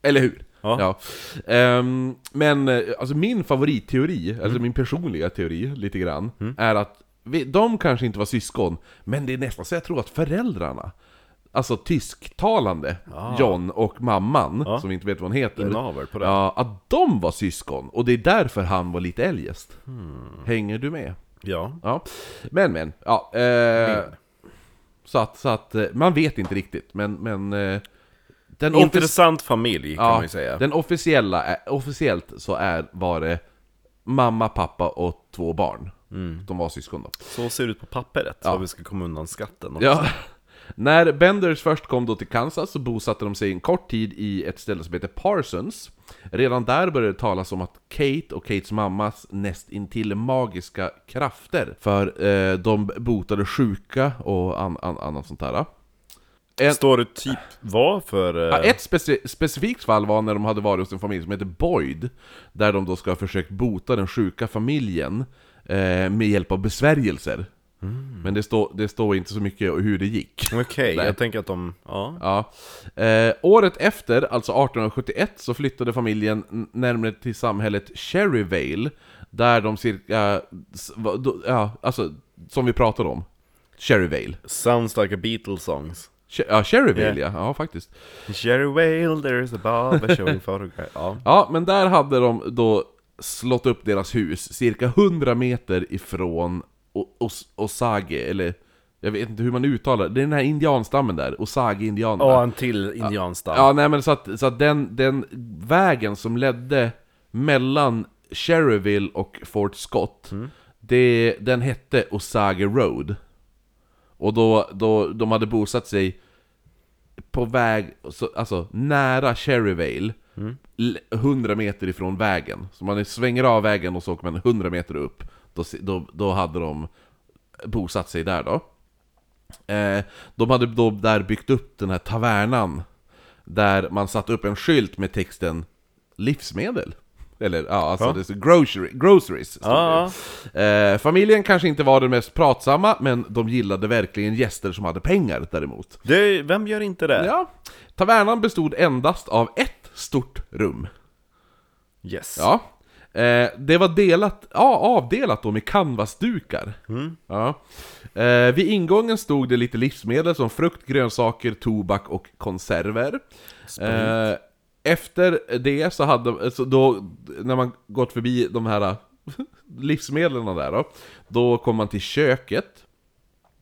B: eller hur?
A: Ja.
B: Ehm, men eh, alltså min favoritteori, alltså
A: Mm.
B: min personliga teori lite grann, är att vi, de kanske inte var syskon, men det är nästan så jag tror att föräldrarna, alltså tysktalande John och mamman, som vi inte vet vad hon heter,
A: En avel Ah. på det.
B: Ja, att de var syskon, och det är därför han var lite eljest.
A: Hmm.
B: Hänger du med?
A: Ja.
B: Ja. Men men, ja. Eh, så att, så att, eh, man vet inte riktigt, men... men eh, den offic-
A: Intressant familj, kan
B: ja,
A: man ju säga.
B: Den officiella, är, officiellt så är, var det mamma, pappa och två barn.
A: Mm.
B: De var syskon då.
A: Så ser det ut på pappret, så vi ska komma undan skatten. Och...
B: Ja. När Benders först kom då till Kansas så bosatte de sig en kort tid i ett ställe som heter Parsons. Redan där började det talas om att Kate och Kates mammas nästintill magiska krafter. För eh, de botade sjuka och an, an, annat sånt där. En,
A: Står det typ vad för...
B: Ja,
A: eh,
B: ett speci- specifikt fall var när de hade varit hos en familj som heter Boyd Där de då ska ha försökt bota den sjuka familjen eh, Med hjälp av besvärjelser Men det står, det står inte så mycket hur det gick.
A: eh, Okej,
B: Nej.
A: jag tänker att de, ja.
B: Ja. Eh, året efter, alltså 1871, så flyttade familjen n- närmare till samhället Cherryvale, där de cirka... s- va- då- Ja, alltså, som vi pratade om. Cherryvale.
A: Sounds like a Beatles songs.
B: Che- Ja, Cherryvale ja, ja faktiskt.
A: Jerry Whale, there is a barber showing photograph. Ja.
B: Ja, men där hade de då slått upp deras hus cirka 100 meter ifrån O- Os- Osage, eller jag vet inte hur man uttalar det, det är den här indianstammen där, Osage-indianerna.
A: Och en till indianstam.
B: Ja, nej men så att, så att den, den vägen som ledde mellan Cherryville och Fort Scott, det, den hette Osage Road. Och då, då de hade bosatt sig på väg, så, alltså nära Cherryvale,
A: Mm.
B: l- 100 meter ifrån vägen. Så man svänger av vägen och så åker man 100 meter upp. Då, se- då, då hade de bosatt sig där då. Eh, de hade då där byggt upp den här tavernan Där man satte upp en skylt med texten Livsmedel Eller ja, alltså
A: Ja.
B: Det stod grocery, groceries stod
A: Ja,
B: det. Eh, Familjen kanske inte var den mest pratsamma Men de gillade verkligen gäster som hade pengar däremot
A: Det, vem gör inte det?
B: Ja, tavernan bestod endast av ett stort rum
A: Yes.
B: Ja. Eh, det var delat, ja, avdelat då med canvasdukar. Ja. Eh, vid ingången stod det lite livsmedel som frukt, grönsaker, tobak och konserver. Eh, efter det så hade, så då, när man gått förbi de här livsmedlen där då, då kom man till köket.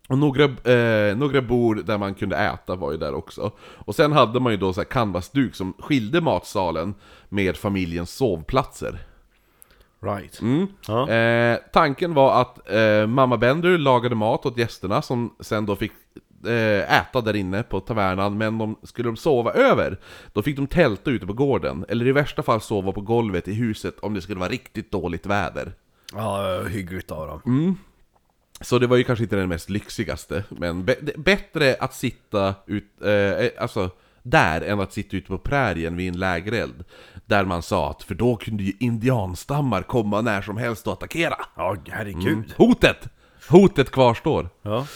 B: Och några, eh, några bord där man kunde äta var ju där också. Och sen hade man ju då så här canvasduk som skilde matsalen med familjens sovplatser.
A: Right.
B: Mm.
A: Ja.
B: Eh, tanken var att eh, mamma Bender lagade mat åt gästerna som sen då fick eh, äta där inne på tavernan, men de, skulle de sova över, då fick de tälta ute på gården, eller i värsta fall sova på golvet i huset om det skulle vara riktigt dåligt väder.
A: Ja, hyggligt av dem.
B: Mm. Så det var ju kanske inte den mest lyxigaste, men bä- det- bättre att sitta ut, eh, alltså, där än att sitta ute på prärien vid en lägereld. Där man sa att, för då kunde ju indianstammar komma när som helst och attackera.
A: Ja,
B: Mm.
A: herregud.
B: Hotet! Hotet kvarstår.
A: Ja.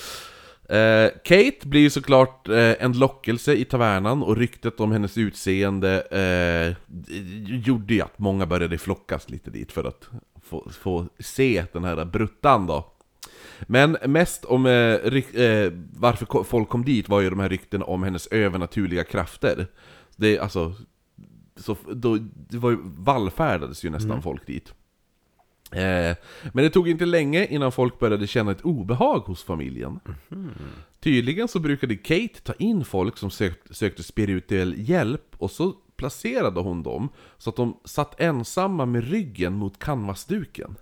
B: Eh, Kate blir ju såklart eh, en lockelse i tavernan och ryktet om hennes utseende eh, gjorde ju att många började flockas lite dit för att få, få se den här bruttan då. Men mest om eh, ryk, eh, varför ko- folk kom dit var ju de här ryktena om hennes övernaturliga krafter. Det, är alltså, så, f- då, det var ju, vallfärdades ju nästan folk dit. Eh, men det tog inte länge innan folk började känna ett obehag hos familjen. Tydligen så brukade Kate ta in folk som sökt, sökte spirituell hjälp och så placerade hon dem så att de satt ensamma med ryggen mot canvasduken.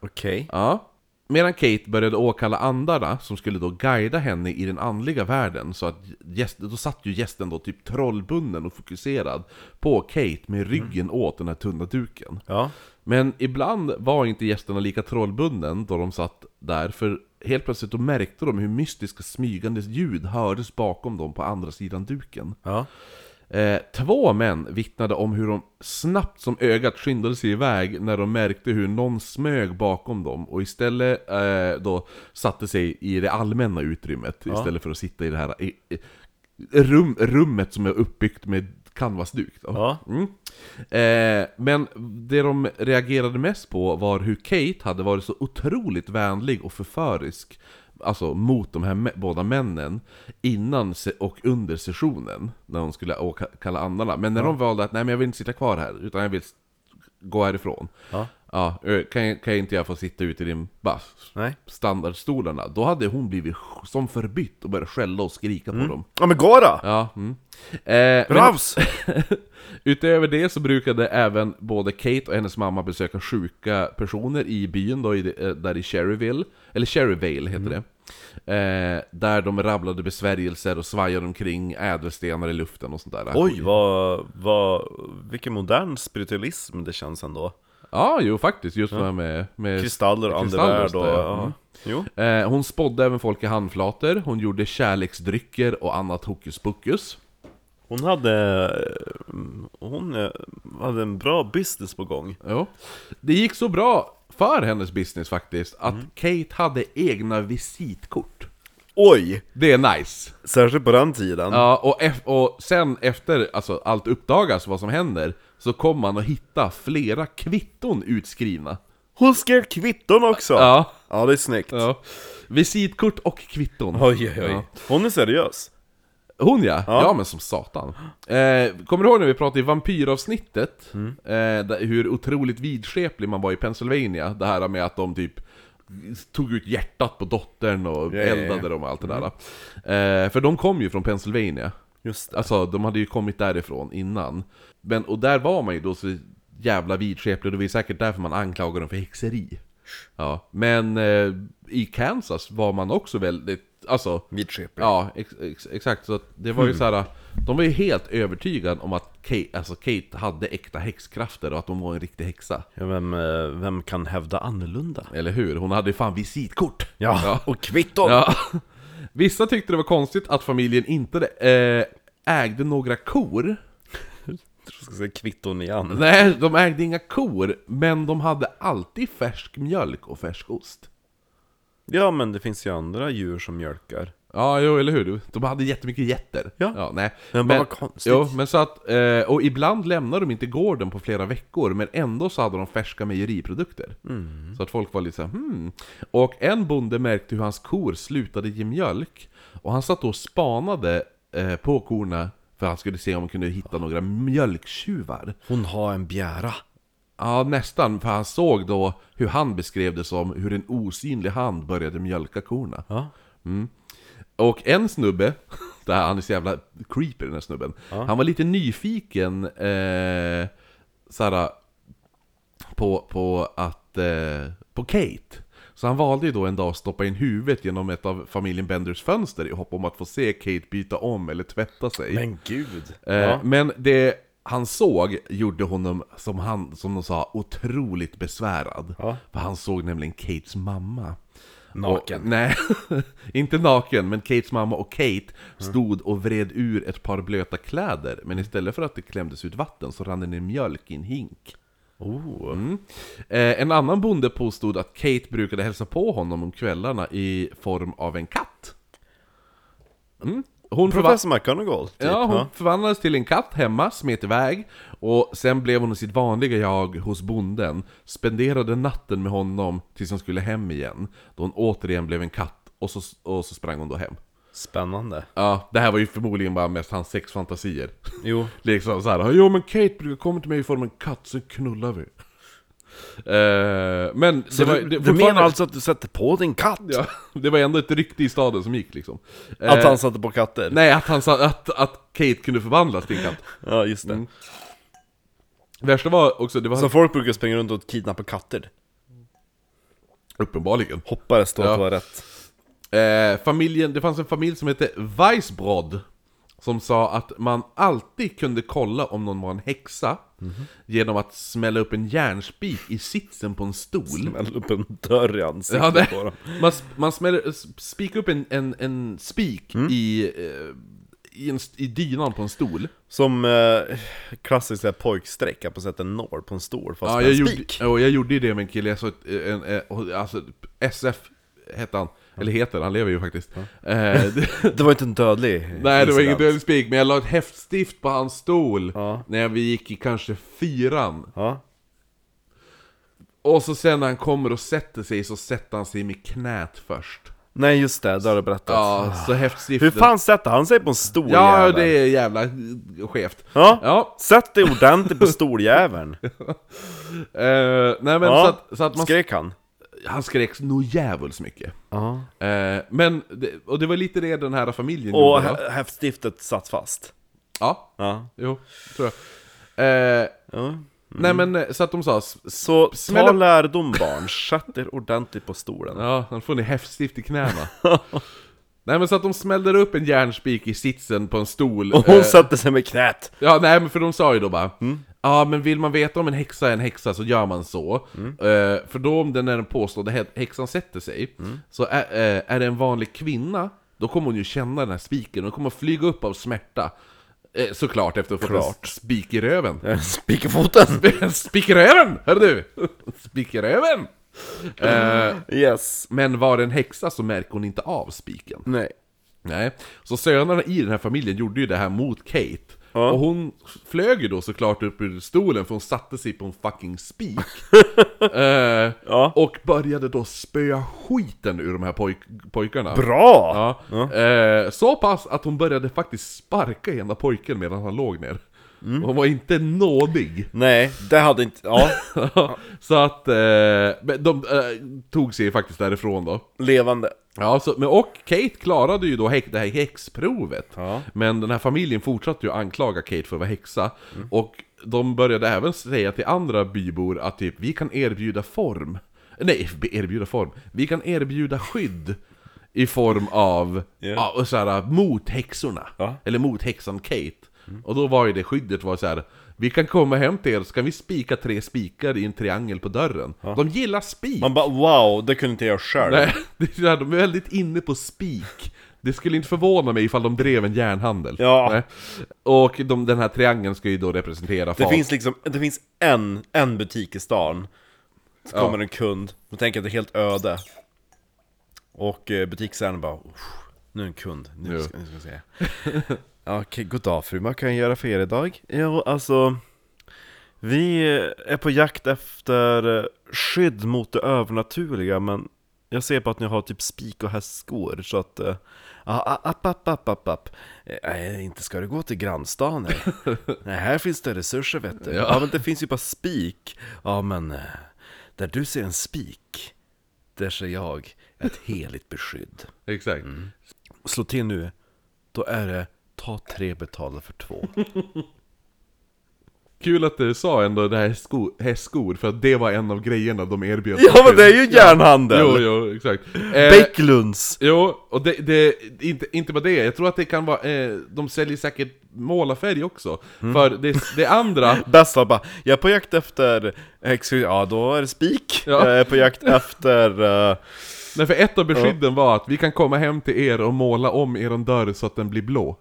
A: Okej.
B: Ja. Medan Kate började åkalla andarna som skulle då guida henne i den andliga världen så att gäst, då satt ju gästen då typ trollbunden och fokuserad på Kate med ryggen åt den här tunna duken.
A: Ja.
B: Men ibland var inte gästerna lika trollbunden då de satt där, för helt plötsligt då märkte de hur mystiska smygande ljud hördes bakom dem på andra sidan duken.
A: Ja.
B: Eh, två män vittnade om hur de snabbt som ögat skyndade sig iväg när de märkte hur någon smög bakom dem och istället eh, då satte sig i det allmänna utrymmet istället för att sitta i det här i, i, rum, rummet som är uppbyggt med canvasduk. Då.
A: Ja.
B: Mm. Eh, men det de reagerade mest på var hur Kate hade varit så otroligt vänlig och förförisk Alltså mot de här mä- båda männen Innan se- och under sessionen När de skulle åka, kalla andarna Men när de valde att nej men jag vill inte sitta kvar här Utan jag vill s- gå härifrån
A: Ja.
B: Ja, eh, kan, jag- kan jag inte jag få sitta ute i din buss?
A: Nej.
B: Standardstolarna Då hade hon blivit sj- som förbytt och börjat skälla och skrika på dem
A: Ja men gå då!
B: Ja, mm. eh, men-
A: Raus!
B: Utöver det så brukade även både Kate och hennes mamma besöka sjuka personer i byn då, i, det- eh, där i Cherryville, eller Cherryvale heter det. Eh, där de rabblade besvärjelser och svajade omkring ädelstenar i luften och sånt där.
A: Oj, vad, vad, vilken modern spiritualism det känns ändå.
B: Ja, jo faktiskt, just det här med... med
A: Kristaller och
B: kristaller
A: andevärld och...
B: det, ja. Mm.
A: Ja. Jo.
B: Eh, hon spådde även folk i handflator, hon gjorde kärleksdrycker och annat hokus pokus.
A: Hon hade, eh, hon eh, hade en bra business på gång.
B: Jo. Det gick så bra för hennes business faktiskt, att Kate hade egna visitkort.
A: Oj!
B: Det är nice!
A: Särskilt på den tiden.
B: Ja, och, ef- och sen efter alltså, allt uppdagas, vad som händer, så kommer man att hitta flera kvitton utskrivna.
A: Hon skrev kvitton också!
B: Ja.
A: Ja, det är snyggt.
B: ja. Visitkort och kvitton.
A: Oj, oj, oj.
B: Ja.
A: Hon är seriös.
B: Hon ja. ja!
A: Ja.
B: men som satan. Eh, kommer du ihåg när vi pratade i vampyravsnittet?
A: Mm.
B: Eh, där, hur otroligt vidskeplig man var i Pennsylvania. Det här med att de typ tog ut hjärtat på dottern och
A: Ja, Mm. ja, ja.
B: eldade dem och allt det där. Eh, för de kom ju från Pennsylvania.
A: Just det.
B: Alltså, de hade ju kommit därifrån innan. Men, och där var man ju då så jävla vidskeplig, det var ju säkert därför man anklagade dem för häxeri. Ja, men eh, i Kansas var man också väldigt, alltså...
A: Vidskeplig.
B: Ja, ex, ex, exakt. Så att det var ju så här. De var ju helt övertygade om att Kate, alltså Kate hade äkta häxkrafter och att hon var en riktig häxa.
A: Ja, vem, eh, vem kan hävda annorlunda?
B: Eller hur? Hon hade ju fan visitkort!
A: Ja, och kvitton!
B: Ja. Vissa tyckte det var konstigt att familjen inte eh, ägde några kor.
A: Jag ska säga kvitton igen.
B: Nej, de ägde inga kor, men de hade alltid färsk mjölk och färsk ost.
A: Ja, men det finns ju andra djur som mjölkar.
B: Ja, jo, eller hur? De hade jättemycket getter.
A: Ja.
B: nej.
A: Men bara konstigt.
B: Jo, men så att, eh, och ibland lämnade de inte gården på flera veckor, men ändå så hade de färska mejeriprodukter.
A: Mm.
B: Så att folk var lite så här, hmm. Och en bonde märkte hur hans kor slutade ge mjölk, och han satt då och spanade eh, på korna för han skulle se om han kunde hitta några mjölktjuvar.
A: Hon har en bjära.
B: Ja, nästan, för han såg då hur han beskrev det som hur en osynlig hand började mjölka korna.
A: Ja.
B: Och en snubbe, det här, han är så jävla creepy den här snubben, han var lite nyfiken eh, såhär, på, på, att, eh, på Kate. Så han valde ju då en dag att stoppa in huvudet genom ett av familjen Benders fönster i hopp om att få se Kate byta om eller tvätta sig.
A: Men gud!
B: Eh,
A: Ja.
B: Men det han såg gjorde honom, som, han, som de sa, otroligt besvärad.
A: Ja.
B: För han såg nämligen Kates mamma.
A: Naken.
B: Och, nej, inte naken, men Kates mamma och Kate stod och vred ur ett par blöta kläder. Men istället för att det klämdes ut vatten så rann det ner mjölk i en hink.
A: Oh.
B: Mm. Eh, en annan bonde påstod att Kate brukade hälsa på honom om kvällarna i form av en katt. Mm. Hon förva-
A: Professor McGonagall, typ.
B: Ja, hon förvandlades till en katt hemma, smet iväg och sen blev hon sitt vanliga jag hos bonden, spenderade natten med honom tills hon skulle hem igen, då hon återigen blev en katt och så, och så sprang hon då hem.
A: Spännande.
B: Ja, det här var ju förmodligen bara mest hans sexfantasier.
A: Jo.
B: Liksom såhär, jo men Kate brukar komma till mig i form av en katt, så knullar vi. Eh, men
A: Så
B: det var,
A: du, du
B: det,
A: menar
B: fortfarande-
A: alltså att du sätter på din katt?
B: Ja, det var ändå ett rykte i staden som gick liksom. Eh,
A: Att han satte på katter?
B: Nej, att, han sa, att, att Kate kunde förvandlas till en katt.
A: Ja, just det.
B: Värsta var också, det var
A: Så folk brukar springa runt och kidnappa katter.
B: uppenbarligen.
A: Hoppades då
B: Ja.
A: att det var rätt.
B: Eh, familjen, det fanns en familj som hette Weissbrod som sa att man alltid kunde kolla om någon var en häxa genom att smälla upp en järnspik i sitsen på en stol.
A: Smäll upp en dörr i ansiktet
B: Ja, det-
A: på dem.
B: Man, s- man smäller, s- spikar upp en, en, en spik
A: Mm.
B: i, eh, i, en, s- i dynan på en stol.
A: Som eh, klassiskt så här pojkstreck, att man sätter en nål på en stol fast
B: Ja,
A: med
B: jag
A: en
B: gjorde,
A: spik.
B: ja, jag gjorde ju det med en kille, jag såg ett, en, en, alltså, SF hette han, eller heter, han lever ju faktiskt. Eh, det-
A: Det var inte en dödlig
B: Nej, det var ingen
A: incident.
B: duell spik, men jag la ett häftstift på hans stol
A: Ja.
B: när vi gick i kanske fyran.
A: Ja.
B: Och så sen när han kommer och sätter sig så sätter han sig med knät först.
A: Nej, just det, det har du berättat.
B: Ja, så häftstiften...
A: Hur fan sätter han sig på en stol
B: Ja,
A: jäveln?
B: det är jävla eh, skevt.
A: Ja.
B: Ja,
A: Sätt dig ordentligt på stoljäveln!
B: eh, nej men
A: Ja.
B: så, att, så att man...
A: Skrek han?
B: Han skrek nog djävulskt mycket.
A: Ja.
B: Eh, men, det, och det var lite det den här familjen
A: Och
B: gjorde. va?
A: hä- häftstiftet satt fast.
B: Ja,
A: Ja.
B: jo, tror jag. Eh,
A: ja. Mm.
B: Nej men, eh, så att de sa... s- s-
A: Så
B: Smäll
A: ta
B: upp-
A: lärdom barn, sätt er ordentligt på stolen.
B: Ja, han får ni häftstift i knäna. nej men så att de smällde upp en järnspik i sitsen på en stol.
A: Och hon
B: eh,
A: satte sig med knät!
B: Ja, nej men för de sa ju då bara Ja, men vill man veta om en häxa är en häxa så gör man så. Eh, för då om den är den påstådda hä- häxan sätter sig, så är, eh, är det en vanlig kvinna, då kommer hon ju känna den här spiken, hon kommer flyga upp av smärta. Eh, såklart efter att ha fått en
A: Klart.
B: spik i röven.
A: Spik i foten!
B: Spik i röven! Hör du! Spik i röven! Eh,
A: Yes.
B: men var det en häxa så märker hon inte av spiken.
A: Nej.
B: Nej, så sönerna i den här familjen gjorde ju det här mot Kate.
A: Ja.
B: Och hon flög ju då såklart upp ur stolen för hon satte sig på en fucking spik. eh,
A: Ja.
B: och började då spöa skiten ur de här pojk- pojkarna.
A: Bra!
B: Ja. Eh, så pass att hon började faktiskt sparka ena pojken medan han låg ner.
A: Mm.
B: Hon var inte nådig.
A: Nej, det hade inte... Ja,
B: så att eh, men de eh, tog sig faktiskt därifrån då.
A: levande.
B: Ja, så, men och Kate klarade ju då häx- det här häxprovet.
A: Ja.
B: Men den här familjen fortsatte ju anklaga Kate för att vara häxa.
A: Mm.
B: Och de började även säga till andra bybor att typ, vi kan erbjuda form. Nej, be- erbjuda form. Vi kan erbjuda skydd. I form av,
A: Ja.
B: ja, och så här, mot häxorna.
A: Ja. Mm.
B: Eller mot häxan Kate. Och då var ju det skyddet var så här. Vi kan komma hem till er, så kan vi spika tre spikar i en triangel på dörren. De gillar spik!
A: Man bara wow, det kunde inte jag själv.
B: Nej, det är så här, de är väldigt inne på spik. Det skulle inte förvåna mig ifall de drev en järnhandel.
A: Ja.
B: Nej. Och de, den här triangeln ska ju då representera
A: Det
B: fas.
A: finns liksom, det finns en, en butik i stan. Så kommer en kund, då tänker jag att det är helt öde. Och eh, butiksägaren bara, "Uff, nu är en kund, nu
B: Ja.
A: ska, nu ska vi se. Ja, Okej, god dag fru, vad kan jag göra för er idag? Ja, alltså, vi eh, är på jakt efter eh, skydd mot det övernaturliga, men jag ser på att ni har typ spik och hästskor, så att... eh, Ja, app, app, app, app, app. Eh, Nej, inte ska du gå till grannstan eller? Nej, här finns det resurser vet du. Ja.
B: Ja.
A: men det finns ju bara spik. Ja, men eh, där du ser en spik, där ser jag ett heligt beskydd.
B: Exakt.
A: Slå till nu, då är det ta tre betala för två.
B: Kul att du sa ändå det här sko, hästskor, för att det var en av grejerna de erbjöd.
A: Ja, men det är ju järnhandel!
B: Jo, jo, exakt. Eh,
A: Bäcklunds!
B: jo, och det, det, inte, inte bara det, jag tror att det kan vara, eh, de säljer säkert målarfärg också. För det, det andra,
A: Bästa bara, jag är på jakt efter, eh, exklusiv, ja då är det spik.
B: Ja.
A: Jag är på jakt efter, eh,
B: nej för ett av beskydden var att vi kan komma hem till er och måla om er dörr så att den blir blå.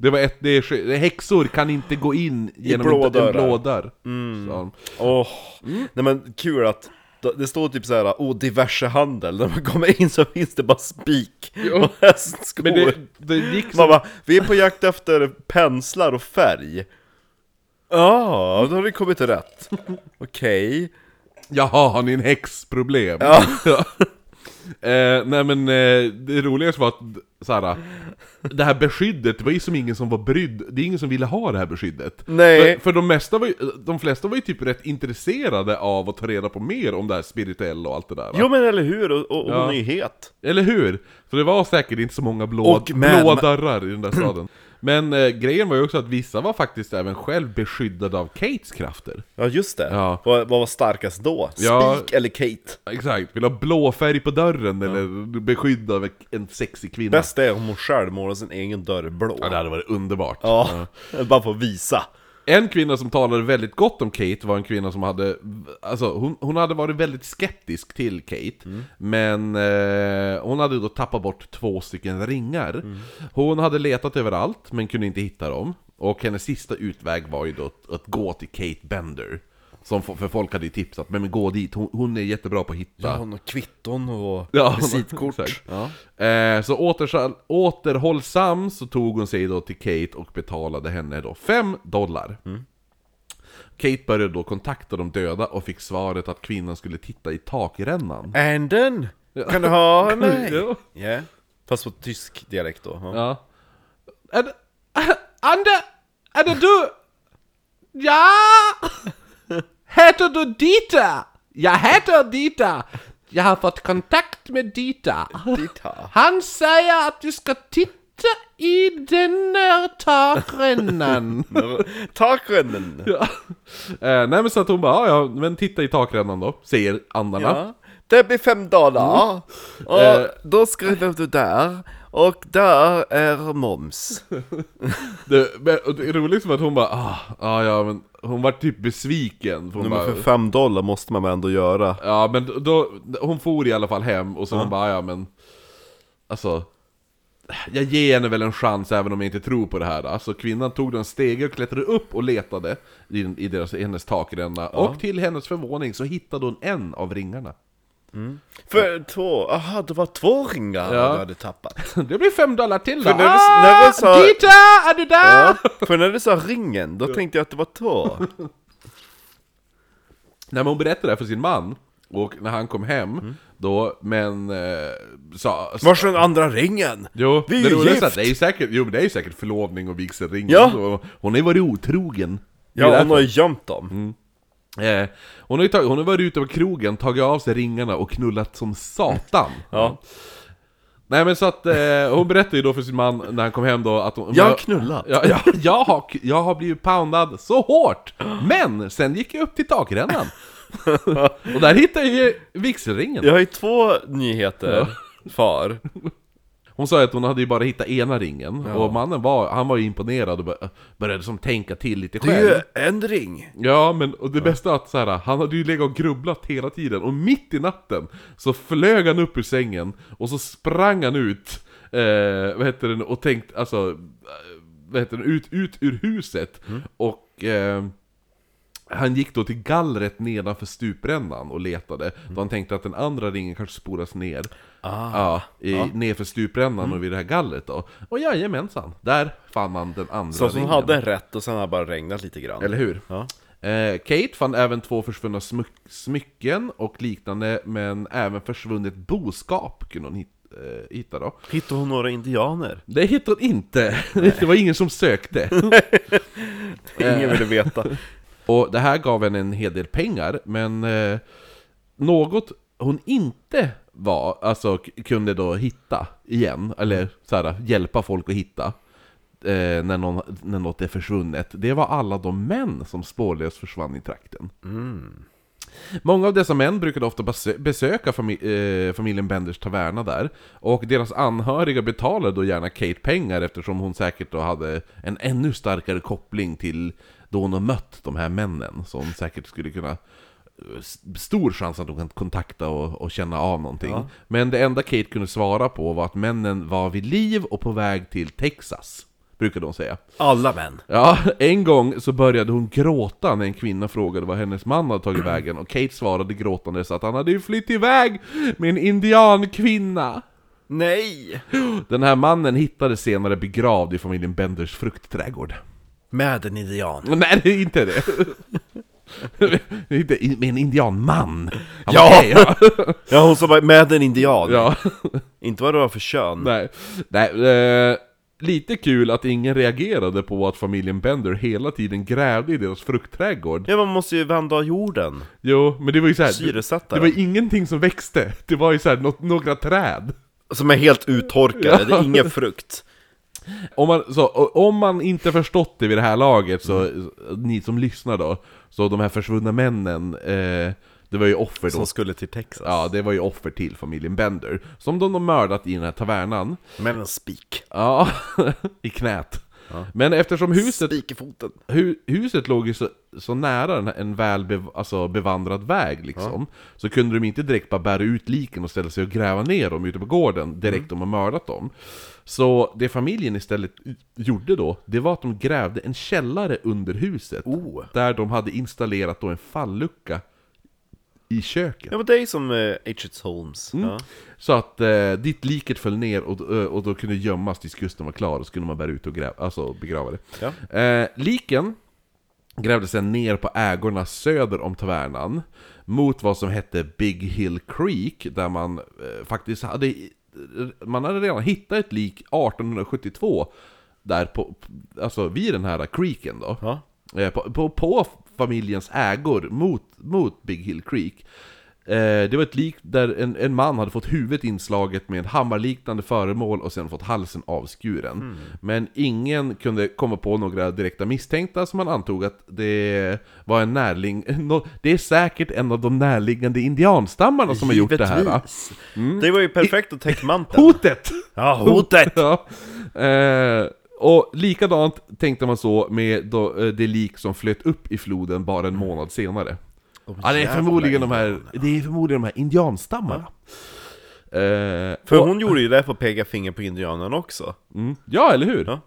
B: Det var ett, det är, sky- häxor kan inte gå in genom
A: blå
B: en, en
A: dörrar.
B: blå dörr.
A: Mm.
B: sa de.
A: åh,
B: Mm.
A: nej men kul att det står typ såhär, oh diverse handel, när man kommer in så finns det bara spik och hästskor.
B: Men det, det gick
A: Man
B: så...
A: bara, vi är på jakt efter penslar och färg. Ja, då har vi kommit rätt. Okej.
B: Jaha, har ni en häxproblem?
A: Ja.
B: eh, nej men eh, det roligaste var att såhär, det här beskyddet, det var ju som ingen som var brydd, det är ingen som ville ha det här beskyddet.
A: Nej.
B: För, för de, mesta var ju, de flesta var ju typ rätt intresserade av att ta reda på mer om det här spirituella och allt det där. va?
A: Jo men eller hur, och, och
B: Ja.
A: hon är ju het.
B: Eller hur? Så det var säkert inte så många blå,
A: Och men-
B: blåa dörrar i den där staden. Men eh, grejen var ju också att vissa var faktiskt även själv beskyddade av Kates krafter.
A: Ja just det,
B: Ja.
A: vad, vad var starkast då?
B: Ja.
A: Spik eller Kate?
B: Exakt, vill ha blå färg på dörren eller beskydd av en sexig kvinna.
A: Bäst är om hon själv målar sin egen dörr blå.
B: Ja, det hade varit underbart.
A: Ja, bara för att visa.
B: En kvinna som talade väldigt gott om Kate var en kvinna som hade, alltså hon, hon hade varit väldigt skeptisk till Kate, men eh, hon hade då tappat bort två stycken ringar. Hon hade letat överallt, men kunde inte hitta dem. Och hennes sista utväg var ju då att, att gå till Kate Bender. Som, fo- för folk hade ju tipsat, men, men gå dit, hon, hon är jättebra på att hitta.
A: Hon har kvitton och
B: Ja,
A: visitkort.
B: exakt.
A: Ja.
B: Eh, så återsal- återhållsam så tog hon sig då till Kate och betalade henne då 5 dollar.
A: Mm.
B: Kate började då kontakta de döda och fick svaret att kvinnan skulle titta i takrännan.
A: Anden, kan du ha mig?
B: Ja.
A: Ja. Fast på tysk dialekt då. Ja.
B: Ja. Är det, Ande, är det du? Ja! Heter du Dita? Jag heter Dita! Jag har fått kontakt med Dita.
A: Dita.
B: Han säger att du ska titta i den här takrännan.
A: Takrännen.
B: ja. eh, nej men så att hon bara, "Ja, ja men titta i takrännan då, säger andarna.
A: Ja. Det blir fem dollar.
B: Mm. Eh.
A: Och då skriver du där. Och där är moms.
B: Det, men, och det är roligt som att hon bara, ah, ah, ja men hon var typ besviken. För hon bara,
A: fem dollar måste man väl ändå göra.
B: ja men då, hon for i alla fall hem och så hon bara, "Ah, ja men, alltså. jag ger henne väl en chans även om jag inte tror på det här. Alltså kvinnan tog då en stege och klättrade upp och letade i, den- i deras, i hennes takränna. Och till hennes förvåning så hittade hon en av ringarna.
A: För två, aha det var två ringar
B: Ja.
A: du hade tappat.
B: Det blir fem dollar till då!
A: För när du- när du sa-
B: Dita! Är du där?
A: Ja, för när du sa ringen, då tänkte jag att det var två.
B: När hon berättade det här för sin man, och när han kom hem,
A: Mm.
B: då, men... Eh, sa, sa,
A: Vars är den andra ringen?
B: Jo,
A: Vi är
B: det
A: ju
B: roligaste är
A: gift.
B: att det är ju säkert, jo, men det är ju säkert förlovning och vigselring
A: Ja.
B: Så Hon har ju varit otrogen Det är
A: Ja, hon
B: därför.
A: har ju gömt dem.
B: Eh, hon, har ju tagit, hon har varit ute på krogen, tagit av sig ringarna och knullat som satan
A: Ja.
B: Nej men så att, eh, hon berättade ju då för sin man när han kom hem då att hon...
A: Jag har knullat.
B: Ja, ja, jag, har, jag har blivit poundad så hårt! Men sen gick jag upp till takrännan Och där hittade jag ju vigselringen
A: Jag har ju två nyheter, far.
B: Hon sa ju att hon hade ju bara hittat ena ringen Och mannen var, han var ju imponerad och bör- började som tänka till lite själv
A: en ring.
B: Ja, men och det bästa är att så här, han hade ju legat och grubblat hela tiden och mitt i natten så flög han upp ur sängen och så sprang han ut, eh, vad heter den, och tänkte, alltså, eh, vad heter den, ut, ut ur huset och eh, han gick då till gallret nedanför stuprännan och letade, då han tänkte att den andra ringen kanske spolas ner.
A: Ah,
B: Ah, Ja, i, nerför stuprännan och vid det här gallret då. Och jajamensan, där fann han den andra
A: Så att hon
B: ringen.
A: hade rätt och sen har det bara regnat lite grann.
B: Eller hur?
A: Ja.
B: Eh, Kate fann även två försvunna smyck- smycken och liknande, men även försvunnet boskap kunde hon hit- eh, hitta då.
A: Hittade hon några indianer?
B: Det hittade hon inte, det var ingen som sökte.
A: Ingen ville veta.
B: och det här gav henne en hel del pengar, men eh, något hon inte var, alltså k- kunde då hitta igen, eller så här, hjälpa folk att hitta, eh, när, någon, när något är försvunnet, det var alla de män som spårlöst försvann i trakten. Många av dessa män brukade ofta besö- besöka fami- eh, familjen Benders taverna där, och deras anhöriga betalade då gärna Kate pengar eftersom hon säkert då hade en ännu starkare koppling till då hon har mött de här männen, som säkert skulle kunna eh, s- stor chans att de kan kontakta och, och känna av någonting. Men det enda Kate kunde svara på var att männen var vid liv och på väg till Texas, brukade hon säga.
A: Alla män.
B: Ja, en gång så började hon gråta när en kvinna frågade var hennes man hade tagit vägen och Kate svarade gråtandes att han hade ju flytt iväg med en indiankvinna.
A: Nej!
B: Den här mannen hittades senare begravd i familjen Benders fruktträdgård.
A: Med en indian.
B: Nej, det är inte det. Det är inte- Med en indianman. Han
A: Ja.
B: bara, "Hej, ja.
A: Ja, hon sa bara med en indian.
B: ja.
A: Inte vad det var för kön.
B: Nej, nej eh, lite kul att ingen reagerade på att familjen Bender hela tiden grävde i deras fruktträdgård.
A: Ja, man måste ju vända jorden.
B: Jo, men det var ju så här.
A: Syresätta
B: Det var
A: den.
B: ingenting som växte, det var ju så här, något, några träd.
A: Som är helt uttorkade, det är ingen frukt.
B: Om man, så, o- om man inte förstått det vid det här laget, så så- ni som lyssnar då, så de här försvunna männen, eh, det var ju offer då.
A: Som skulle till Texas.
B: Ja, det var ju offer till familjen Bender, som de har mördat i den här tavernan.
A: Med en spik.
B: Ja, i knät. Men eftersom huset
A: Spik i foten.
B: Hu huset låg ju så, så nära en, en väl bev alltså bevandrad väg liksom, så kunde de inte direkt bara bära ut liken och ställa sig och gräva ner dem ute på gården direkt de har mördat dem. Så det familjen istället gjorde då, det var att de grävde en källare under huset,
A: Oh.
B: där de hade installerat då en fallucka i köket.
A: Ja, men det är som eh, H.H. Holmes.
B: Mm.
A: Ja.
B: Så att eh, ditt liket föll ner och, eh, och då kunde gömmas tills kusten var klar, och så kunde man bära ut och gräva, alltså begrava det.
A: Ja.
B: Eh, liken grävdes sedan ner på ägorna söder om tavernan, mot vad som hette Big Hill Creek, där man eh, faktiskt hade, man hade redan hittat ett lik 1872, där på, alltså vid den här creeken då.
A: Ja.
B: Eh, På, på, på familjens ägor mot, mot Big Hill Creek. Eh, det var ett lik där en, en man hade fått huvudet inslaget med en hammarliknande föremål och sen fått halsen avskuren. Men ingen kunde komma på några direkta misstänkta som man antog att det var en närling... nå- Det är säkert en av de närliggande indianstammarna som har gjort det här va? Mm.
A: Givetvis. Det var ju perfekt att täcka manteln.
B: Hotet!
A: Ja, hotet!
B: Ja. Eh, och likadant tänkte man så med då, eh, det lik som flöt upp i floden bara en månad senare. ja, det är, förmodligen de här, det är förmodligen de här indianstammarna. Eh,
A: För
B: och-
A: hon gjorde ju det på peka finger på indianen också.
B: Mm. Ja, eller hur?
A: Ja.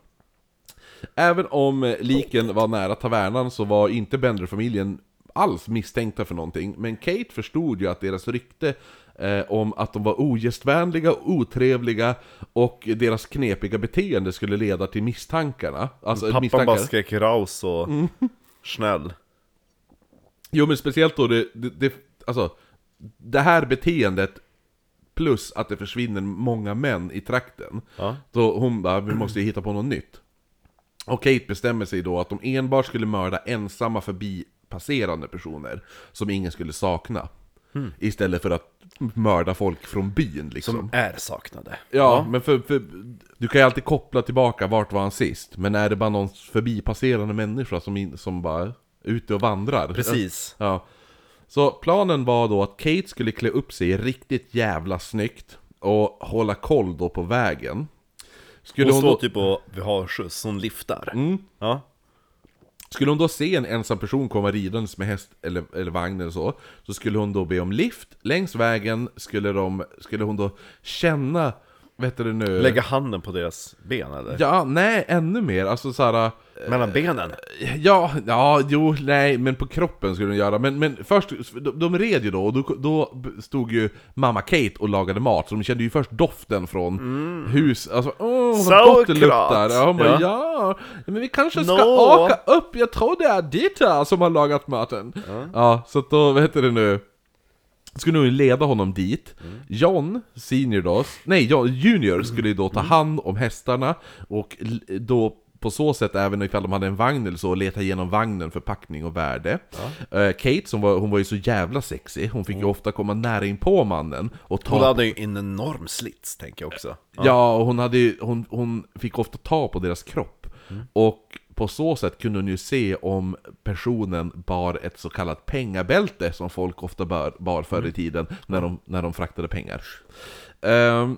B: Även om eh, liken var nära tavernan så var inte Bender-familjen alls misstänkta för någonting. Men Kate förstod ju att deras rykte eh, om att de var ogästvänliga och otrevliga och deras knepiga beteende skulle leda till misstankarna. Alltså
A: Pappan
B: misstankar. Mm.
A: bara skrek raus och snäll.
B: Jo men speciellt då det, det, det, alltså, det här beteendet plus att det försvinner många män i trakten.
A: Ja.
B: Så hon bara, vi måste ju hitta på något nytt. Och Kate bestämmer sig då att de enbart skulle mörda ensamma förbipasserande personer som ingen skulle sakna. Istället för att mörda folk från byn liksom.
A: Hmm. Som är saknade.
B: Ja, men för, för, du kan ju alltid koppla tillbaka vart var han sist. Men är det bara någon förbipasserande människa som, in, som bara är ute och vandrar?
A: Precis.
B: Ja. Så planen var då att Kate skulle klä upp sig riktigt jävla snyggt och hålla koll då på vägen. Skulle
A: Hon
B: hon,
A: står
B: då, Mm.
A: typ och vi har skjuts, hon lyftar. Ja.
B: skulle hon då se en ensam person komma ridandes med häst eller, eller vagn eller så, så skulle hon då be om lift längs vägen, skulle, de, skulle hon då känna, vet du nu...
A: Lägga handen på deras ben eller?
B: Ja, nej, ännu mer. Alltså såhär...
A: Mellan
B: Eh,
A: benen?
B: Ja, ja, jo, nej, men på kroppen skulle de göra. Men, men först, de, de red ju då, och då, då stod ju mamma Kate och lagade mat, så de kände ju först doften från hus, alltså åh vad gott det
A: Sauerkraut.
B: luktar! Ja, hon bara, ja.
A: Ja.
B: men vi kanske ska
A: Nå.
B: åka upp, jag tror det är Dita som har lagat maten! Ja, så att då, vad heter det nu? Skulle nog leda honom dit.
A: Mm.
B: John, senior då, nej John, junior skulle ju då ta
A: Mm.
B: hand om hästarna och l- då på så sätt, även ifall de hade en vagn eller så, leta igenom vagnen för packning och värde. Eh, Kate, som var, hon var ju så jävla sexig, hon fick ju ofta komma nära in på mannen och ta...
A: Mm. Hon hade ju en enorm slits tänker jag också.
B: Ja, och hon, hade, ju- hon, hon fick ofta ta på deras kropp. Och på så sätt kunde hon ju se om personen bar ett så kallat pengabälte som folk ofta bar, bar förr i tiden när de, när de fraktade pengar. Ehm,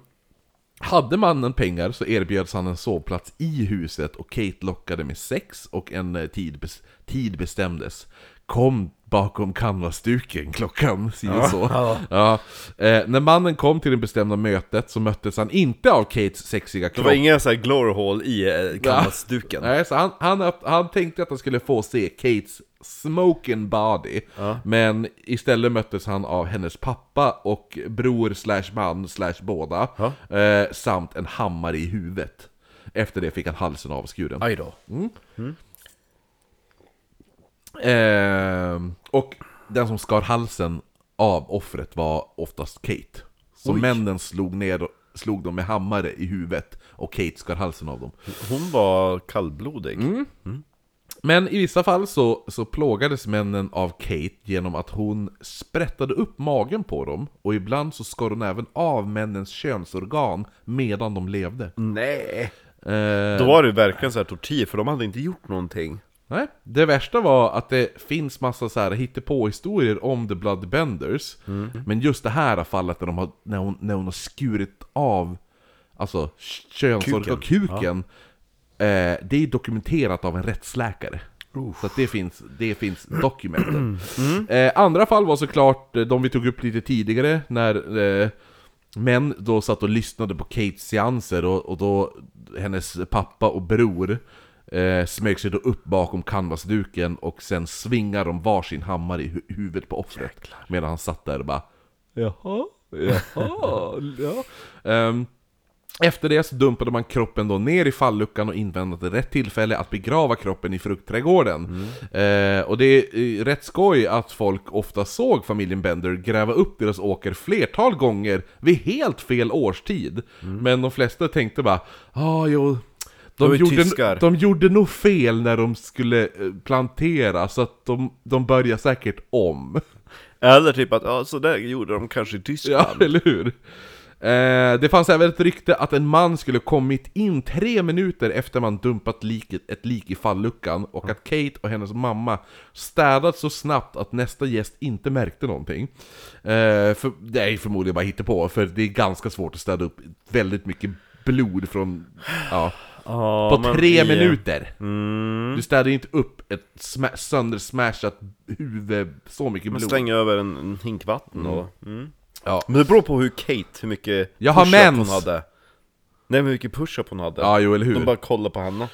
B: hade mannen pengar så erbjöds han en sovplats i huset och Kate lockade med sex och en eh, tid, bes- tid bestämdes. Kom bakom canvasduken klockan, si och så. Ja. Eh, när mannen kom till det bestämda mötet så möttes han inte av Kates sexiga
A: Det
B: kropp.
A: var inga så här glory hall i eh, canvasduken.
B: Nej, så han, han, öpp- han tänkte att han skulle få se Kates smoking body. Men istället möttes han av hennes pappa och bror slash man slash båda. Eh, samt en hammare i huvudet. Efter det fick han halsen avskuren.
A: Aj då.
B: Ehm, och den som skar halsen av offret var oftast Kate. Så männen slog, ner, slog dem med hammare i huvudet och Kate skar halsen av dem.
A: Hon var kallblodig.
B: Mm. Men i vissa fall så, så plågades männen av Kate genom att hon sprättade upp magen på dem och ibland så skar hon även av männens könsorgan medan de levde.
A: Nej.
B: Eh,
A: Då var det ju verkligen så här tortyr, för de hade inte gjort någonting.
B: nej. Det värsta var att det finns massa så här hittepåhistorier om The Bloodbenders, men just det här fallet när, de har, när, hon, när hon har skurit av alltså, könsorgan, kuken,
A: Kuken.
B: kuken eh, det är dokumenterat av en rättsläkare. Så att det finns, det finns dokumenter. Eh, andra fall var såklart eh, de vi tog upp lite tidigare, när eh, män då satt och lyssnade på Kates seanser och, och då hennes pappa och bror eh, smög sig då upp bakom canvasduken och sen svingade de varsin hammare i hu- huvudet på offret. Medan han satt där och bara Jaha, jaha, ja. Ehm, efter det så dumpade man kroppen då ner i falluckan och inväntade rätt tillfälle att begrava kroppen i
A: Mm.
B: fruktträdgården. Eh, och det är eh, rätt skoj att folk ofta såg familjen Bender gräva upp deras åker flertal gånger vid helt fel årstid. Men de flesta tänkte bara ah, jo, de,
A: Mm. De är
B: gjorde,
A: tyskar."
B: de gjorde nog fel när de skulle eh, plantera så att de, de börjar säkert om.
A: Eller typ att, ja så där gjorde de kanske i Tyskland.
B: Ja, eller hur? Eh, det fanns även ett rykte att en man skulle kommit in tre minuter efter man dumpat liket, ett lik i falluckan och att Kate och hennes mamma städat så snabbt att nästa gäst inte märkte någonting. Eh, för, det är ju förmodligen bara hittepå, för det är ganska svårt att städa upp väldigt mycket blod från... Ja,
A: Ja,
B: på
A: men
B: tre
A: i- eh,
B: minuter!
A: Mm.
B: Du städar ju inte upp ett sma- söndersmashat huvud, så mycket
A: Man
B: blod.
A: slänger över en, en hink vatten och... Mm.
B: Ja.
A: Men det beror på hur Kate, hur mycket
B: Jag har
A: push-up
B: mens.
A: hon hade Nej men hur mycket push-up hon hade
B: Ja, jo, eller hur?
A: De bara kollar på Hanna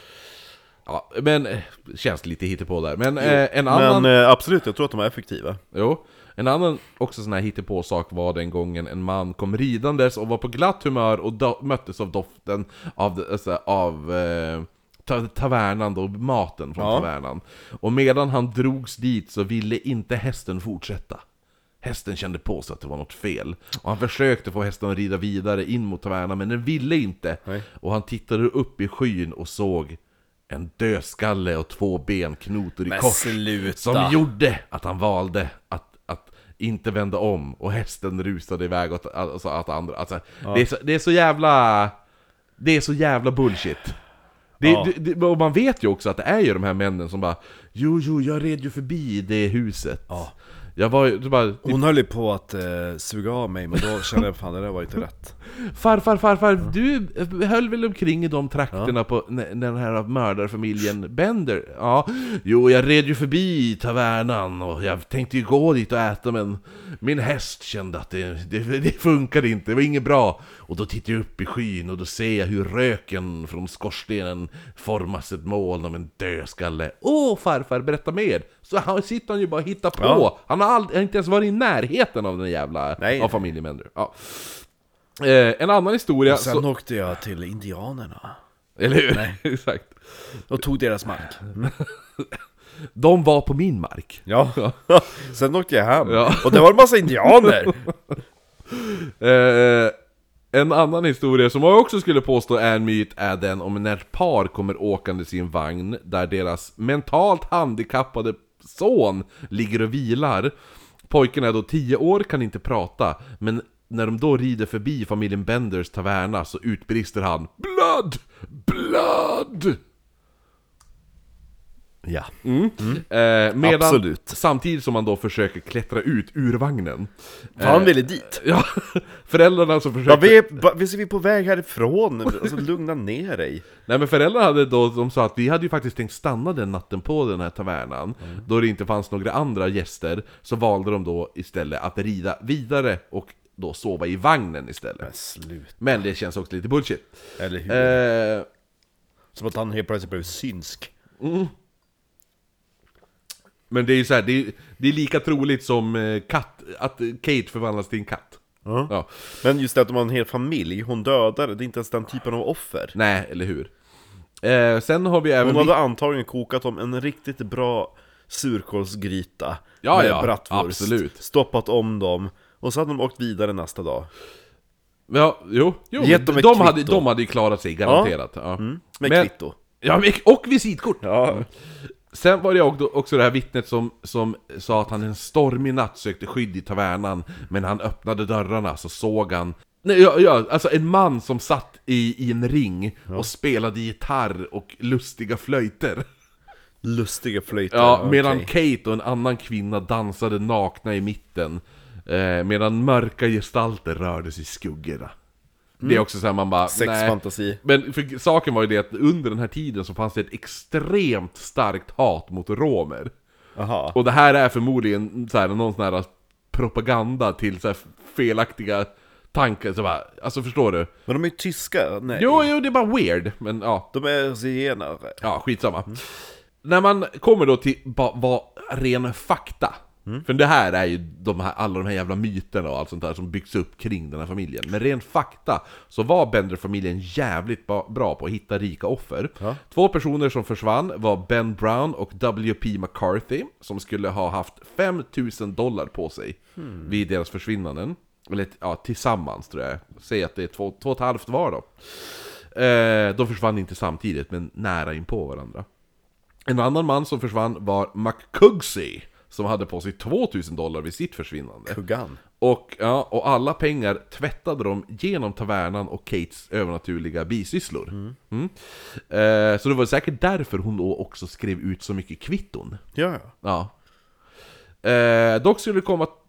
B: Ja, men eh, känns lite hittepå där. Men eh, en annan...
A: Men eh, absolut, jag tror att de är effektiva
B: Jo. En annan också sån här hittepå-sak var den gången en man kom ridandes och var på glatt humör och do- möttes av doften av, det- alltså, av eh, ta- tavernan då, maten från
A: Ja.
B: tavernan. Och medan han drogs dit så ville inte hästen fortsätta. Hästen kände på sig att det var något fel. Och han försökte få hästen att rida vidare in mot tavernan, men den ville inte.
A: Nej.
B: Och han tittade upp i skyn och såg en dödskalle och två benknotor i kors.
A: sluta!
B: Som gjorde att han valde att, att inte vända om och hästen rusade iväg åt, alltså, åt andra. Alltså, det, är så, det är så jävla... Det är så jävla bullshit. Det,
A: Ja.
B: det, det, och man vet ju också att det är ju de här männen som bara Jo, jo, jag red ju förbi det huset.
A: Ja.
B: Jag var ju så bara
A: Hon höll ju på att eh, suga av mig, men då kände jag fan det där var inte rätt
B: Farfar, farfar, du eh, höll väl omkring i de trakterna på när när den här mördarfamiljen Bender? Ja, jo, jag red ju förbi tavernan och jag tänkte ju gå dit och äta men min häst kände att det, det, det funkade inte, det var inget bra. Och då tittar jag upp i skyn och då ser jag hur röken från skorstenen formas ett moln av en dödskalle. Åh farfar, berätta mer! Så han sitter han ju bara och hittar på.
A: Ja.
B: Han har aldrig, inte ens varit i närheten av den jävla,
A: Nej.
B: av familjen Bender. Ja. Eh, en annan historia,
A: Sen
B: så,
A: åkte jag till indianerna
B: eller hur? Exakt.
A: och tog deras mark
B: De var på min mark.
A: Ja, sen åkte jag hem,
B: Ja.
A: och det var en massa indianer!
B: Eh, en annan historia som jag också skulle påstå är en myt är den om när ett par kommer åkande i en vagn där deras mentalt handikappade son ligger och vilar. Pojken är då 10 år, kan inte prata, men när de då rider förbi familjen Benders taverna så utbrister han BLOD! BLOD!
A: Ja,
B: Eh, medan,
A: Absolut.
B: Samtidigt som man då försöker klättra ut ur vagnen.
A: fan ville dit!
B: Ja, föräldrarna som försökte...
A: Ja, vi, är, ba- visst är vi på väg härifrån? Alltså lugna ner dig
B: Nej men föräldrarna hade då, de sa att vi hade ju faktiskt tänkt stanna den natten på den här tavernan Då det inte fanns några andra gäster Så valde de då istället att rida vidare och då sova i vagnen istället
A: Men slut,
B: Men det känns också lite bullshit
A: eller hur?
B: eh,
A: Som att han helt plötsligt blev synsk
B: Men det är ju så här, det är, det är lika troligt som eh, katt, att eh, Kate förvandlas till en katt Ja.
A: Men just det att de har en hel familj, hon dödade, det är inte ens den typen av offer
B: Nej, eller hur? Eh, sen har vi även...
A: Hon hade antagligen kokat om en riktigt bra surkålsgryta
B: Ja,
A: med
B: ja,
A: bratwurst,
B: absolut.
A: stoppat om dem, och så hade de åkt vidare nästa dag.
B: Ja, jo, jo
A: Gett dem
B: de,
A: ett
B: hade,
A: kvitto. Mm,
B: de hade ju klarat sig garanterat ja.
A: Med
B: Men-
A: kvitto.
B: Ja, men- och visitkort!
A: Ja.
B: Sen var det också- också det här vittnet som, som sa att han en stormig natt sökte skydd i tavernan Men han öppnade dörrarna så såg han Nej, ja, ja, alltså en man som satt i, i en ring och spelade gitarr och lustiga flöjter
A: Lustiga flöjter.
B: Ja,
A: okej.
B: medan Kate och en annan kvinna dansade nakna i mitten eh, Medan mörka gestalter rörde sig i skuggorna Det är också såhär man bara, nej.
A: Sexfantasi.
B: Men för saken var ju det att under den här tiden så fanns det ett extremt starkt hat mot romer.
A: Aha.
B: Och det här är förmodligen så här, någon sån här propaganda till så här felaktiga tankar. Så bara, alltså förstår du?
A: Men de är ju tyska, nej.
B: Jo, jo, det är bara weird. Men ja,
A: De är zigenare.
B: ja skitsamma. När man kommer då till ba- vad ren fakta. För det här är ju de här, alla de här jävla myterna och allt sånt där som byggs upp kring den här familjen. Men ren fakta så var Bender-familjen jävligt ba- bra på att hitta rika offer.
A: Ja.
B: Två personer som försvann var Ben Brown och W.P. McCarthy som skulle ha haft 5000 dollar på sig vid deras försvinnanden. Eller ja, tillsammans tror jag. Säg att det är två, två och ett halvt var då. Eh, de försvann inte samtidigt, men nära in på varandra. En annan man som försvann var McCugsey som hade på sig 2000 dollar vid sitt försvinnande.
A: Kuggan.
B: Och, ja, och alla pengar tvättade de genom tavernan och Kates övernaturliga bisysslor. Mm. Eh, så det var säkert därför hon då också skrev ut så mycket kvitton.
A: Ja, ja.
B: Ja. Eh, dock skulle det komma att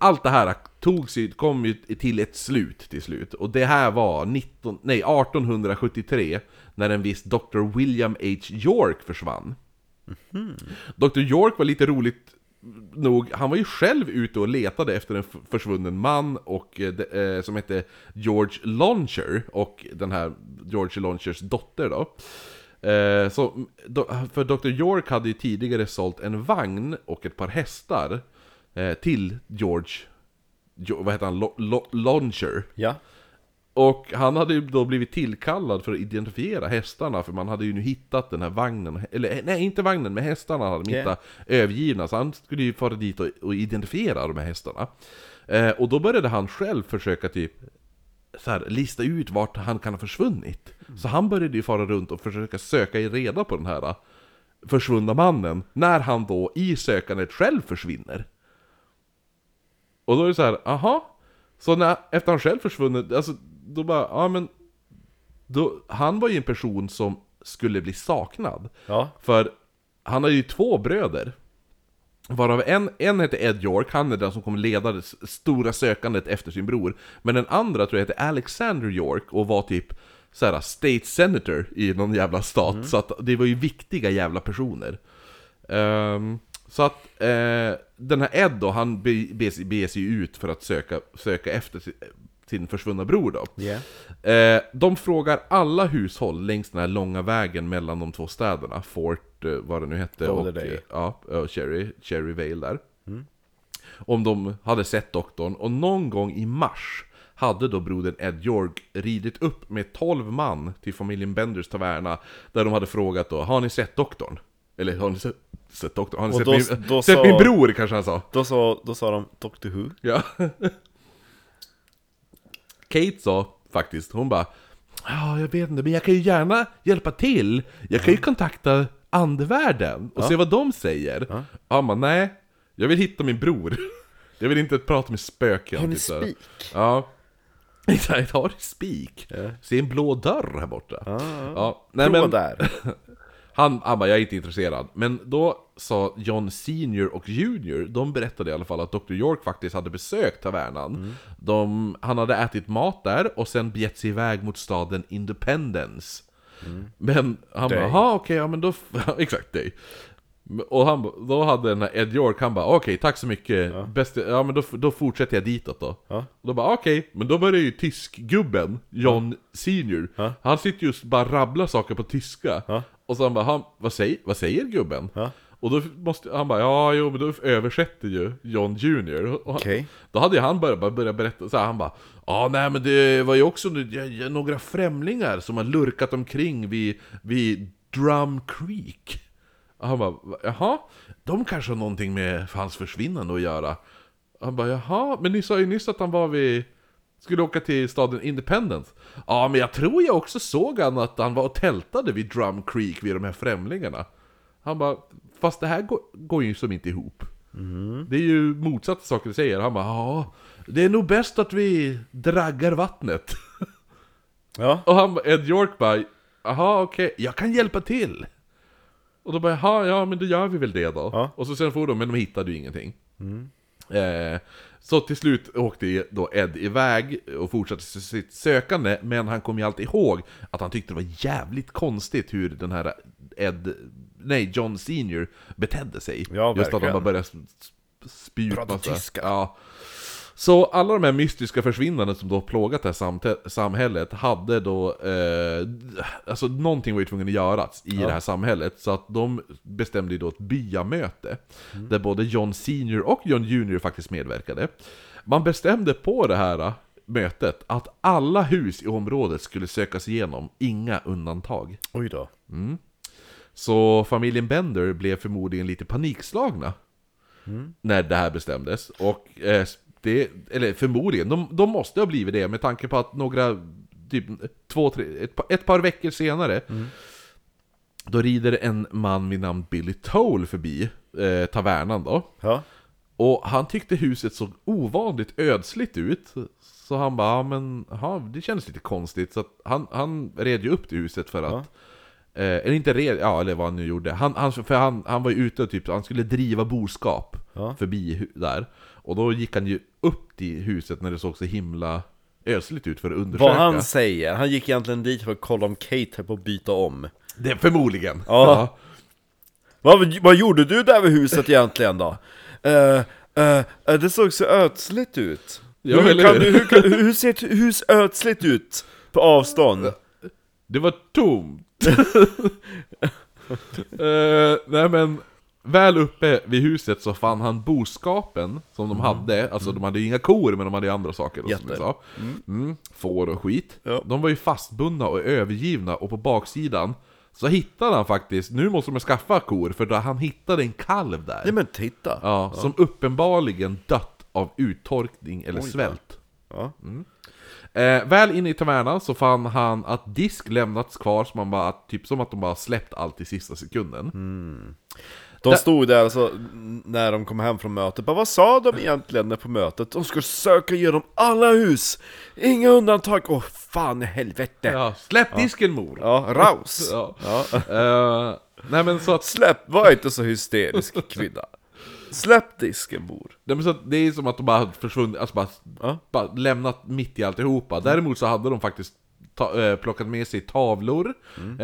B: allt det här togs ju, kom ju till ett slut till slut. Och det här var 19, nej, 1873 när en viss Dr. William H. York försvann. Dr. York var lite roligt nog, han var ju själv ute och letade efter en f- försvunnen man och, eh, de, eh, som hette George Launcher och den här George Launchers dotter då. Eh, så, do, för Dr. York hade ju tidigare sålt en vagn och ett par hästar eh, till George, jo, vad heter han, Lo, Lo, Launcher.
A: Ja.
B: Och han hade ju då blivit tillkallad för att identifiera hästarna för man hade ju nu hittat den här vagnen, eller nej inte vagnen, men hästarna hade de
A: Okej.
B: hittat övergivna så han skulle ju fara dit och, och identifiera de här hästarna. Eh, och då började han själv försöka typ så här, lista ut vart han kan ha försvunnit. Så han började ju fara runt och försöka söka i reda på den här eh, försvunna mannen när han då i sökandet själv försvinner. Och då är det så här, aha. Så när, efter han själv försvunnit, alltså då bara, ja men... Då, han var ju en person som skulle bli saknad.
A: Ja.
B: För han har ju två bröder. Varav en, en heter Ed York, han är den som kommer leda det s- stora sökandet efter sin bror. Men den andra tror jag heter Alexander York och var typ såhär State Senator i någon jävla stat. Så att det var ju viktiga jävla personer. Ehm, så att eh, den här Ed då, han be- beger sig- beger sig ut för att söka, söka efter sin, sin försvunna bror då.
A: Yeah.
B: Eh, de frågar alla hushåll längs den här långa vägen mellan de två städerna, Fort, eh, vad det nu hette, och,
A: Lauderdale.
B: eh, ja, och Cherry, Cherry Vale där.
A: Mm.
B: Om de hade sett doktorn, och någon gång i mars hade då brodern Ed York ridit upp med 12 man till familjen Benders taverna, där de hade frågat då, har ni sett doktorn? Eller har ni sett, sett doktorn? Har ni
A: Och
B: sett,
A: då-
B: min,
A: då
B: sett
A: sa-
B: min bror kanske han sa?
A: Då, sa, då sa de Doctor Who.
B: Ja. Kate sa faktiskt, hon bara Ja, jag vet inte, men jag kan ju gärna hjälpa till. Jag kan ju kontakta andevärlden och se vad de säger. Ja. man, nej. Jag vill hitta min bror. Jag vill inte prata med spöken.
A: Har ni
B: typ så här.
A: spik?
B: Ja. Exakt, har du spik? Se en blå dörr här borta.
A: Ah.
B: Ja, Nej,
A: Prova
B: men,
A: där.
B: han, han bara, jag är inte intresserad. Men då sa John Senior och Junior, de berättade i alla fall att Dr. York faktiskt hade besökt tavernan. De, han hade ätit mat där och sen begett sig iväg mot staden Independence. Men han bara,
A: Dig.
B: jaha okej, ja men då, exakt dig. Och han, ba- då hade den här Ed York, han bara okej tack så mycket, ja. Bäst, ja men då, f- då fortsätter jag ditåt då.
A: Ja.
B: Och då bara okej, men då börjar ju tyskgubben, John Senior,
A: Ja.
B: han sitter just bara rabblar saker på tyska.
A: Ja.
B: Och så han bara, han, vad, säger, vad säger gubben?
A: Ja.
B: Och då måste, han bara, ja jo men då översätter ju John Junior. Och han-
A: Okej.
B: Då hade ju han börjat, bara börjat berätta så här, han bara Ja nej men det var ju också nu- ja, ja, några främlingar som har lurkat omkring vid, vid Drum Creek Och Han bara "Va- jaha, de kanske har någonting med för hans försvinnande att göra Han bara jaha, men ni sa ju nyss att han var vid skulle åka till staden Independence Ja men jag tror jag också såg han att han var och tältade vid Drum Creek vid de här främlingarna Han bara, fast det här går, går ju som inte ihop
A: Mm.
B: det är ju motsatta saker du säger. Han bara ja, det är nog bäst att vi draggar vattnet.
A: Ja.
B: Och han, Ed York bara jaha okej, jag kan hjälpa till. Och då bara jaha, ja men då gör vi väl det då.
A: Ja. Mm.
B: Och så sen får de, men de hittade ju ingenting. Eh, så till slut åkte ju då Ed iväg och fortsatte s- sitt sökande, men han kom ju alltid ihåg att han tyckte det var jävligt konstigt hur den här Ed, nej John Senior betedde sig.
A: Ja,
B: Just att han
A: verkligen.
B: bara började sp- sp- spy ut
A: Prata
B: massa...
A: tyska.
B: Ja. Så alla de här mystiska försvinnanden som då plågat det här samte- samhället hade då... Eh, alltså någonting var ju tvungen att göras i det här samhället. Så att de bestämde ju då ett byamöte. Där både John Senior och John Junior faktiskt medverkade. Man bestämde på det här eh, mötet att alla hus i området skulle sökas igenom, inga undantag.
A: Oj då.
B: Så familjen Bender blev förmodligen lite panikslagna när det här bestämdes. Och eh, det, eller förmodligen, de, de måste ha blivit det med tanke på att några, typ två, tre, ett, par- ett par veckor senare Då rider en man vid namn Billy Toll förbi eh, tavernan då.
A: Ja.
B: Och han tyckte huset såg ovanligt ödsligt ut. Så han bara, ja men aha, det kändes lite konstigt. Så att han, han red ju upp till huset för att... Eh, eller inte red, ja eller vad han nu gjorde. Han, han, för han, han var ju ute och typ, han skulle driva boskap
A: Ja.
B: förbi hu- där. Och då gick han ju upp till huset när det såg så himla ödsligt ut för att undersöka.
A: Vad han säger, han gick egentligen dit för att kolla om Kate höll på att byta om.
B: Det, förmodligen.
A: Ja. Vad, vad gjorde du där vid huset egentligen då? eh, eh, eh, det såg så ödsligt ut.
B: Ja,
A: hur,
B: eller
A: kan
B: hur?
A: du, hur, kan, hur ser ett hus ödsligt ut på avstånd?
B: Det var tomt! Eh, nej men, väl uppe vid huset så fann han boskapen som de hade, alltså de hade ju inga kor men de hade ju andra saker då, som
A: Jätter.
B: vi sa. Mm, får och skit.
A: Ja.
B: De var ju fastbundna och övergivna och på baksidan så hittade han faktiskt, nu måste de skaffa kor för då han hittade en kalv där.
A: Nej men titta!
B: Ja, som uppenbarligen dött av uttorkning eller
A: Oj,
B: svält.
A: Ja.
B: Eh, väl inne i tavernan så fann han att disk lämnats kvar, som, man bara, typ som att de bara släppt allt i sista sekunden.
A: De stod där och så, när de kom hem från mötet, bara, vad sa de egentligen på mötet? De skulle söka igenom alla hus! Inga undantag! Åh fan i helvete! Ja,
B: Ja, släpp disken mor!
A: raus!
B: Ja. Eh, nej men så att,
A: Släpp, var inte så hysterisk kvinna! Släpp disken mor!
B: nej, men så att det är som att de bara hade försvunnit, alltså bara,
A: Ja.
B: bara lämnat mitt i alltihopa. Däremot så hade de faktiskt ta, eh, plockat med sig tavlor,
A: Mm.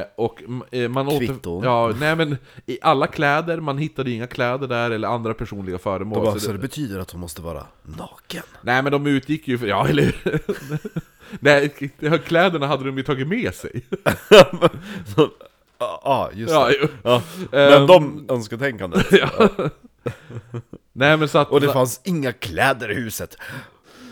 B: eh, och mm, eh, man åter-
A: Kvitton.
B: Ja, nej men i alla kläder, man hittade inga kläder där eller andra personliga föremål.
A: Och bara,
B: så
A: så
B: det-
A: det betyder att hon måste vara naken?
B: Nej men de utgick ju, för, ja eller hur? Nej, kläderna hade de ju tagit med sig.
A: Ja, ah, just
B: Ja,
A: det.
B: jo.
A: Ja.
B: Ehm.
A: Men de önsketänkande.
B: Nej men så att...
A: Och det fanns inga kläder i huset!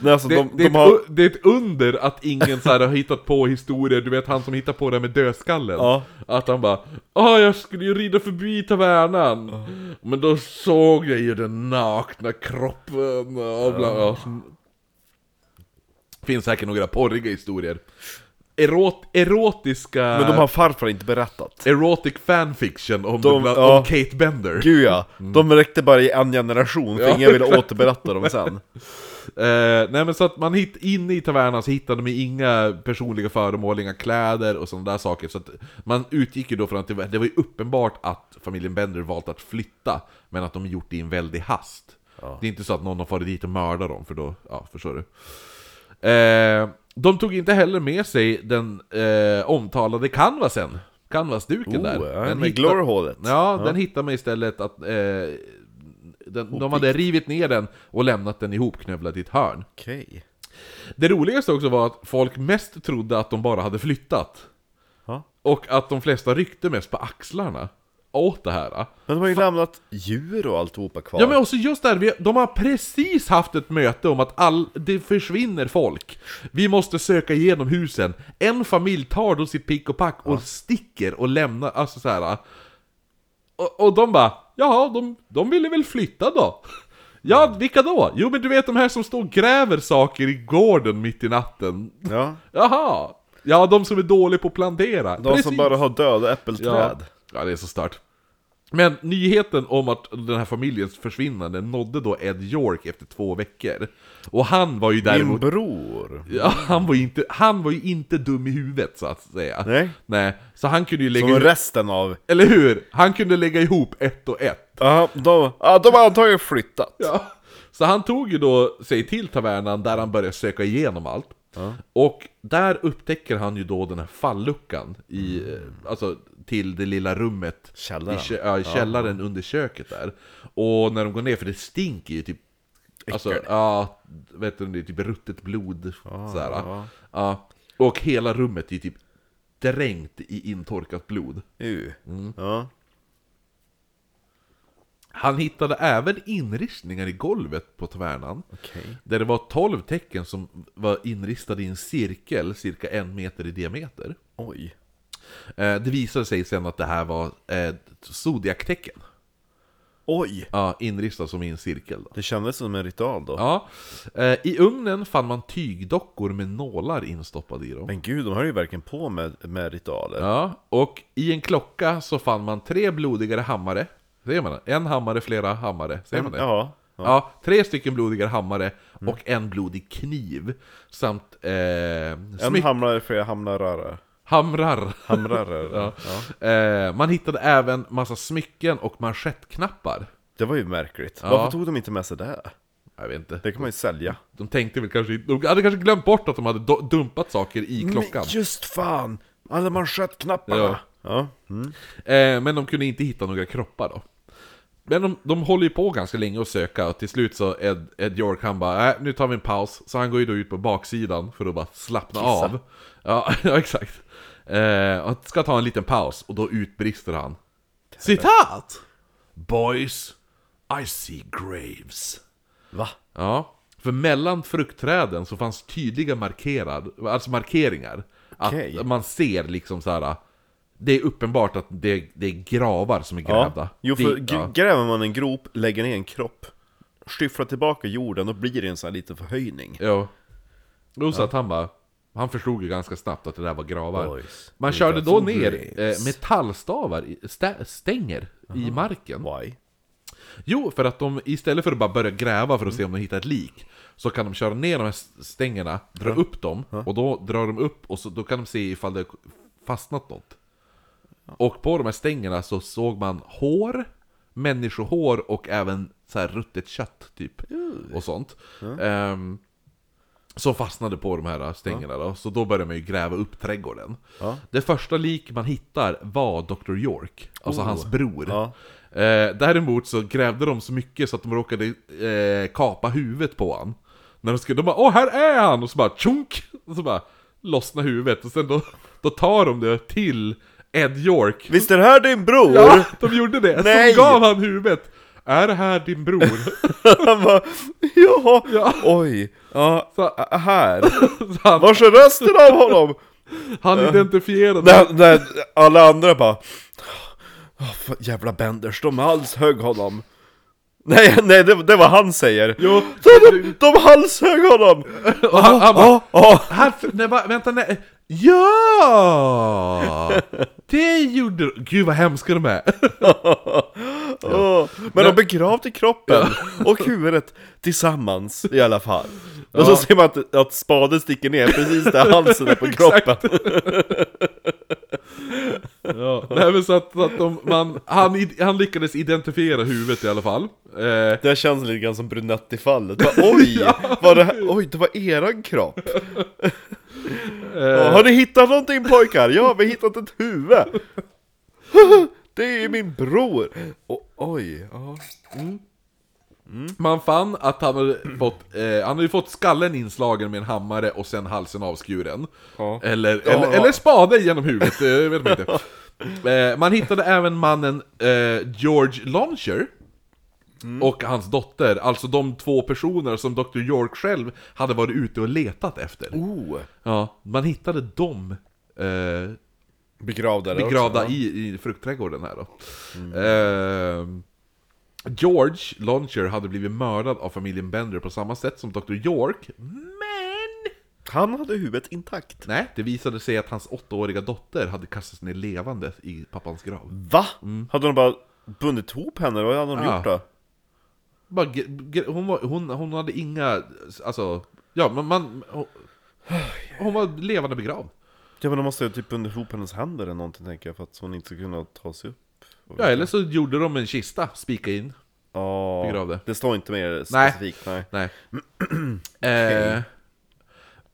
A: Nej, alltså,
B: det,
A: de,
B: det, är
A: de
B: ett
A: har...
B: u- det är ett under att ingen så här har hittat på historier, du vet han som hittar på det här med dödskallen.
A: Ja.
B: Att han bara ah jag skulle ju rida förbi tavernan, men då såg jag ju den nakna kroppen och bla, ja. Finns säkert några porriga historier. Erot, erotiska...
A: Men de har farfar inte berättat.
B: Erotic fanfiction om,
A: De-
B: bland,
A: ja.
B: om Kate Bender.
A: Gud ja, de räckte bara i en generation för
B: Mm. Ja,
A: ingen ville återberätta dem sen.
B: Eh, nej men så att man hit, inne i tavernan så hittade de inga personliga föremål, inga kläder och sådana där saker. Så att man utgick ju då från att det var, det var ju uppenbart att familjen Bender valt att flytta, men att de gjort det i en väldig hast. Det är inte så att någon har farit dit och mördat dem, för då, ja förstår du. Eh, de tog inte heller med sig den eh, omtalade canvasen, canvasduken
A: Oh,
B: där.
A: ja,
B: Den
A: med
B: hitta-
A: glorhålet.
B: Ja, den hittar man istället att... Eh, den, de hade rivit ner den och lämnat den ihopknövlad i ett hörn.
A: Okej.
B: Det roligaste också var att folk mest trodde att de bara hade flyttat.
A: Ja.
B: Och att de flesta ryckte mest på axlarna åt det här.
A: Men de har ju lämnat djur och alltihopa kvar.
B: Ja men också just där, vi, de har precis haft ett möte om att all, det försvinner folk. Vi måste söka igenom husen. En familj tar då sitt pick och pack och sticker och lämnar, alltså så här. Och, och de bara, jaha, de, de ville väl flytta då? Ja, vilka då? Jo men du vet de här som står och gräver saker i gården mitt i natten.
A: Ja,
B: Jaha! Ja, de som är dåliga på att plantera.
A: de som bara har döda äppelträd.
B: Ja, det är så stört. Men nyheten om att den här familjens försvinnande nådde då Ed York efter två veckor. Och han var ju
A: Min
B: däremot...
A: bror.
B: Ja, han, var ju inte, han var ju inte dum i huvudet så att säga.
A: Nej.
B: Nej, så han kunde ju lägga...
A: Som resten av...
B: Eller hur? Han kunde lägga ihop ett och ett.
A: Ja, de, ja, de har antagligen flyttat.
B: Ja. Så han tog ju då sig till tavernan där han började söka igenom allt. Och där upptäcker han ju då den här falluckan i, eh, alltså till det lilla rummet
A: Källaren.
B: I, kä- ja, i källaren under köket där. Och när de går ner, för det stinker ju typ Alltså, ja, vet du, det är typ ruttet blod sådär. Ah, Ja. Och hela rummet är ju typ dränkt i intorkat blod.
A: Uh.
B: Mm.
A: Ja.
B: Han hittade även inristningar i golvet på tavernan.
A: Okej.
B: Där det var 12 tecken som var inristade i en cirkel, cirka en meter i diameter.
A: Oj.
B: Eh, Det visade sig sen att det här var eh, zodiac-tecken.
A: Oj!
B: Ja, inristade som i en cirkel. Då.
A: Det kändes som en ritual då.
B: Ja. Eh, I ugnen fann man tygdockor med nålar instoppade i dem.
A: Men gud, de höll ju verkligen på med, med ritualer.
B: Ja, och i en klocka så fann man tre blodigare hammare. Säger man det? En hammare, flera hammare. Säger man det?
A: Ja. Mm.
B: Ja, tre stycken blodigare hammare och en blodig kniv. Samt eh,
A: En
B: smyck-
A: hamnar, flera hamnar, röra.
B: hamrar.
A: Hamrar, röra.
B: Ja. Eh, man hittade även massa smycken och manschettknappar.
A: Det var ju märkligt.
B: Ja.
A: Varför tog de inte med sig det?
B: Jag vet inte.
A: Det kan man ju sälja.
B: De tänkte väl kanske De hade kanske glömt bort att de hade do- dumpat saker i klockan.
A: Men just fan! Alla manschettknapparna!
B: Ja.
A: Ja. Mm.
B: Eh, men de kunde inte hitta några kroppar då. Men de, de håller ju på ganska länge och söka och till slut så Ed, Ed York han bara äh, nu tar vi en paus. Så han går ju då ut på baksidan för att bara slappna
A: Kissa.
B: av. Ja, ja exakt. Eh, och han ska ta en liten paus och då utbrister han. Citat! Boys, I see graves.
A: Va?
B: Ja, för mellan fruktträden så fanns tydliga markerad, alltså markeringar.
A: Okej.
B: Att man ser liksom så här. Det är uppenbart att det, det är gravar som är
A: Ja.
B: grävda.
A: Jo, för
B: Det-
A: gr-
B: ja.
A: gräver man en grop, lägger ner en kropp, skyfflar tillbaka jorden, då blir det en sån här liten förhöjning.
B: Jo. Jo, så att han bara... Han förstod ju ganska snabbt att det där var gravar.
A: Boys,
B: Man
A: we
B: körde
A: got
B: då
A: some
B: ner
A: graves.
B: eh, metallstavar, i- stä, stänger, i marken.
A: Why?
B: Jo, för att de istället för att bara börja gräva för att se om de hittar ett lik Så kan de köra ner de här stängerna, dra upp dem Och då drar de upp och så, då kan de se ifall det har fastnat något Och på de här stängerna så såg man hår Människohår och även så här ruttet kött typ Och sånt Ehm, Som fastnade på de här äh, stängerna då Så då började man ju gräva upp trädgården
A: Ja.
B: Det första lik man hittar var Dr. York Alltså
A: Oh.
B: hans bror
A: Ja.
B: Eh, däremot så grävde de så mycket så att de råkade eh, kapa huvudet på han. När de skulle, de bara åh här är han! Och så bara tjunk! Och så bara lossna huvudet och sen då, då tar de det till Ed York.
A: Visst är det här din bror?
B: Ja, de gjorde det!
A: Nej!
B: Så gav han huvudet! Är det här din bror?
A: Han bara, ja,
B: Ja.
A: oj, ja,
B: Så-
A: ä- här.
B: Så han,
A: Vars är resten av honom?
B: han identifierade...
A: när, när alla andra bara, "Åh, fan, jävla Benders, de halshögg honom. Nej, nej, det, det var han säger.
B: Jo.
A: De, de halshögg honom!
B: Och han, han bara,
A: Ja,
B: Här, nej, va, vänta, nej. Ja! Det gjorde Gud vad hemska de är!
A: ja. Men de begravde kroppen och huvudet tillsammans i alla fall. Och så
B: Ja.
A: ser man att, att spaden sticker ner precis där halsen är på
B: Exakt.
A: kroppen.
B: Ja. Nej, men så att, så att de, man, han, id- han lyckades identifiera huvudet i alla fall. Eh,
A: Det här känns lite grann som Brunetti-fallet. Bara, Oj, var det här, oj, det var eran kropp.
B: Eh.
A: Ja, Har ni hittat någonting pojkar? Ja, vi har hittat ett huvud. Det är ju min bror. O- oj, ja.
B: man fann att han hade fått, eh, han hade ju fått skallen inslagen med en hammare och sen halsen avskuren.
A: Ja.
B: Eller,
A: Ja,
B: eller,
A: ja.
B: eller spade genom huvudet, eh, jag vet man inte. Eh, man hittade även mannen eh, George Launcher.
A: Mm.
B: Och hans dotter, alltså de två personer som Dr. York själv hade varit ute och letat efter.
A: Oh,
B: Ja, man hittade dem eh,
A: begravda där
B: begravda
A: också,
B: i, i fruktträdgården här då. Ehm, George Launcher hade blivit mördad av familjen Bender på samma sätt som Dr. York, men...
A: ja. Han hade huvudet intakt.
B: Nej, det visade sig att hans åttaåriga dotter hade kastats ner levande i pappans grav.
A: Va? Hade de bara bundit ihop henne? Vad hade de
B: Mm. Ja.
A: gjort då?
B: Bara, gr- gr- hon, var, hon, hon hade inga, alltså, ja men man... Hon, hon var levande begravd.
A: Ja men de måste ju typ bundit ihop hennes händer eller någonting tänker jag för att hon inte ska kunna ta sig upp.
B: Ja, eller så gjorde de en kista, spika in.
A: Ja,
B: Begravde.
A: det står inte mer
B: Nej.
A: specifikt. Nej.
B: Nej. eh,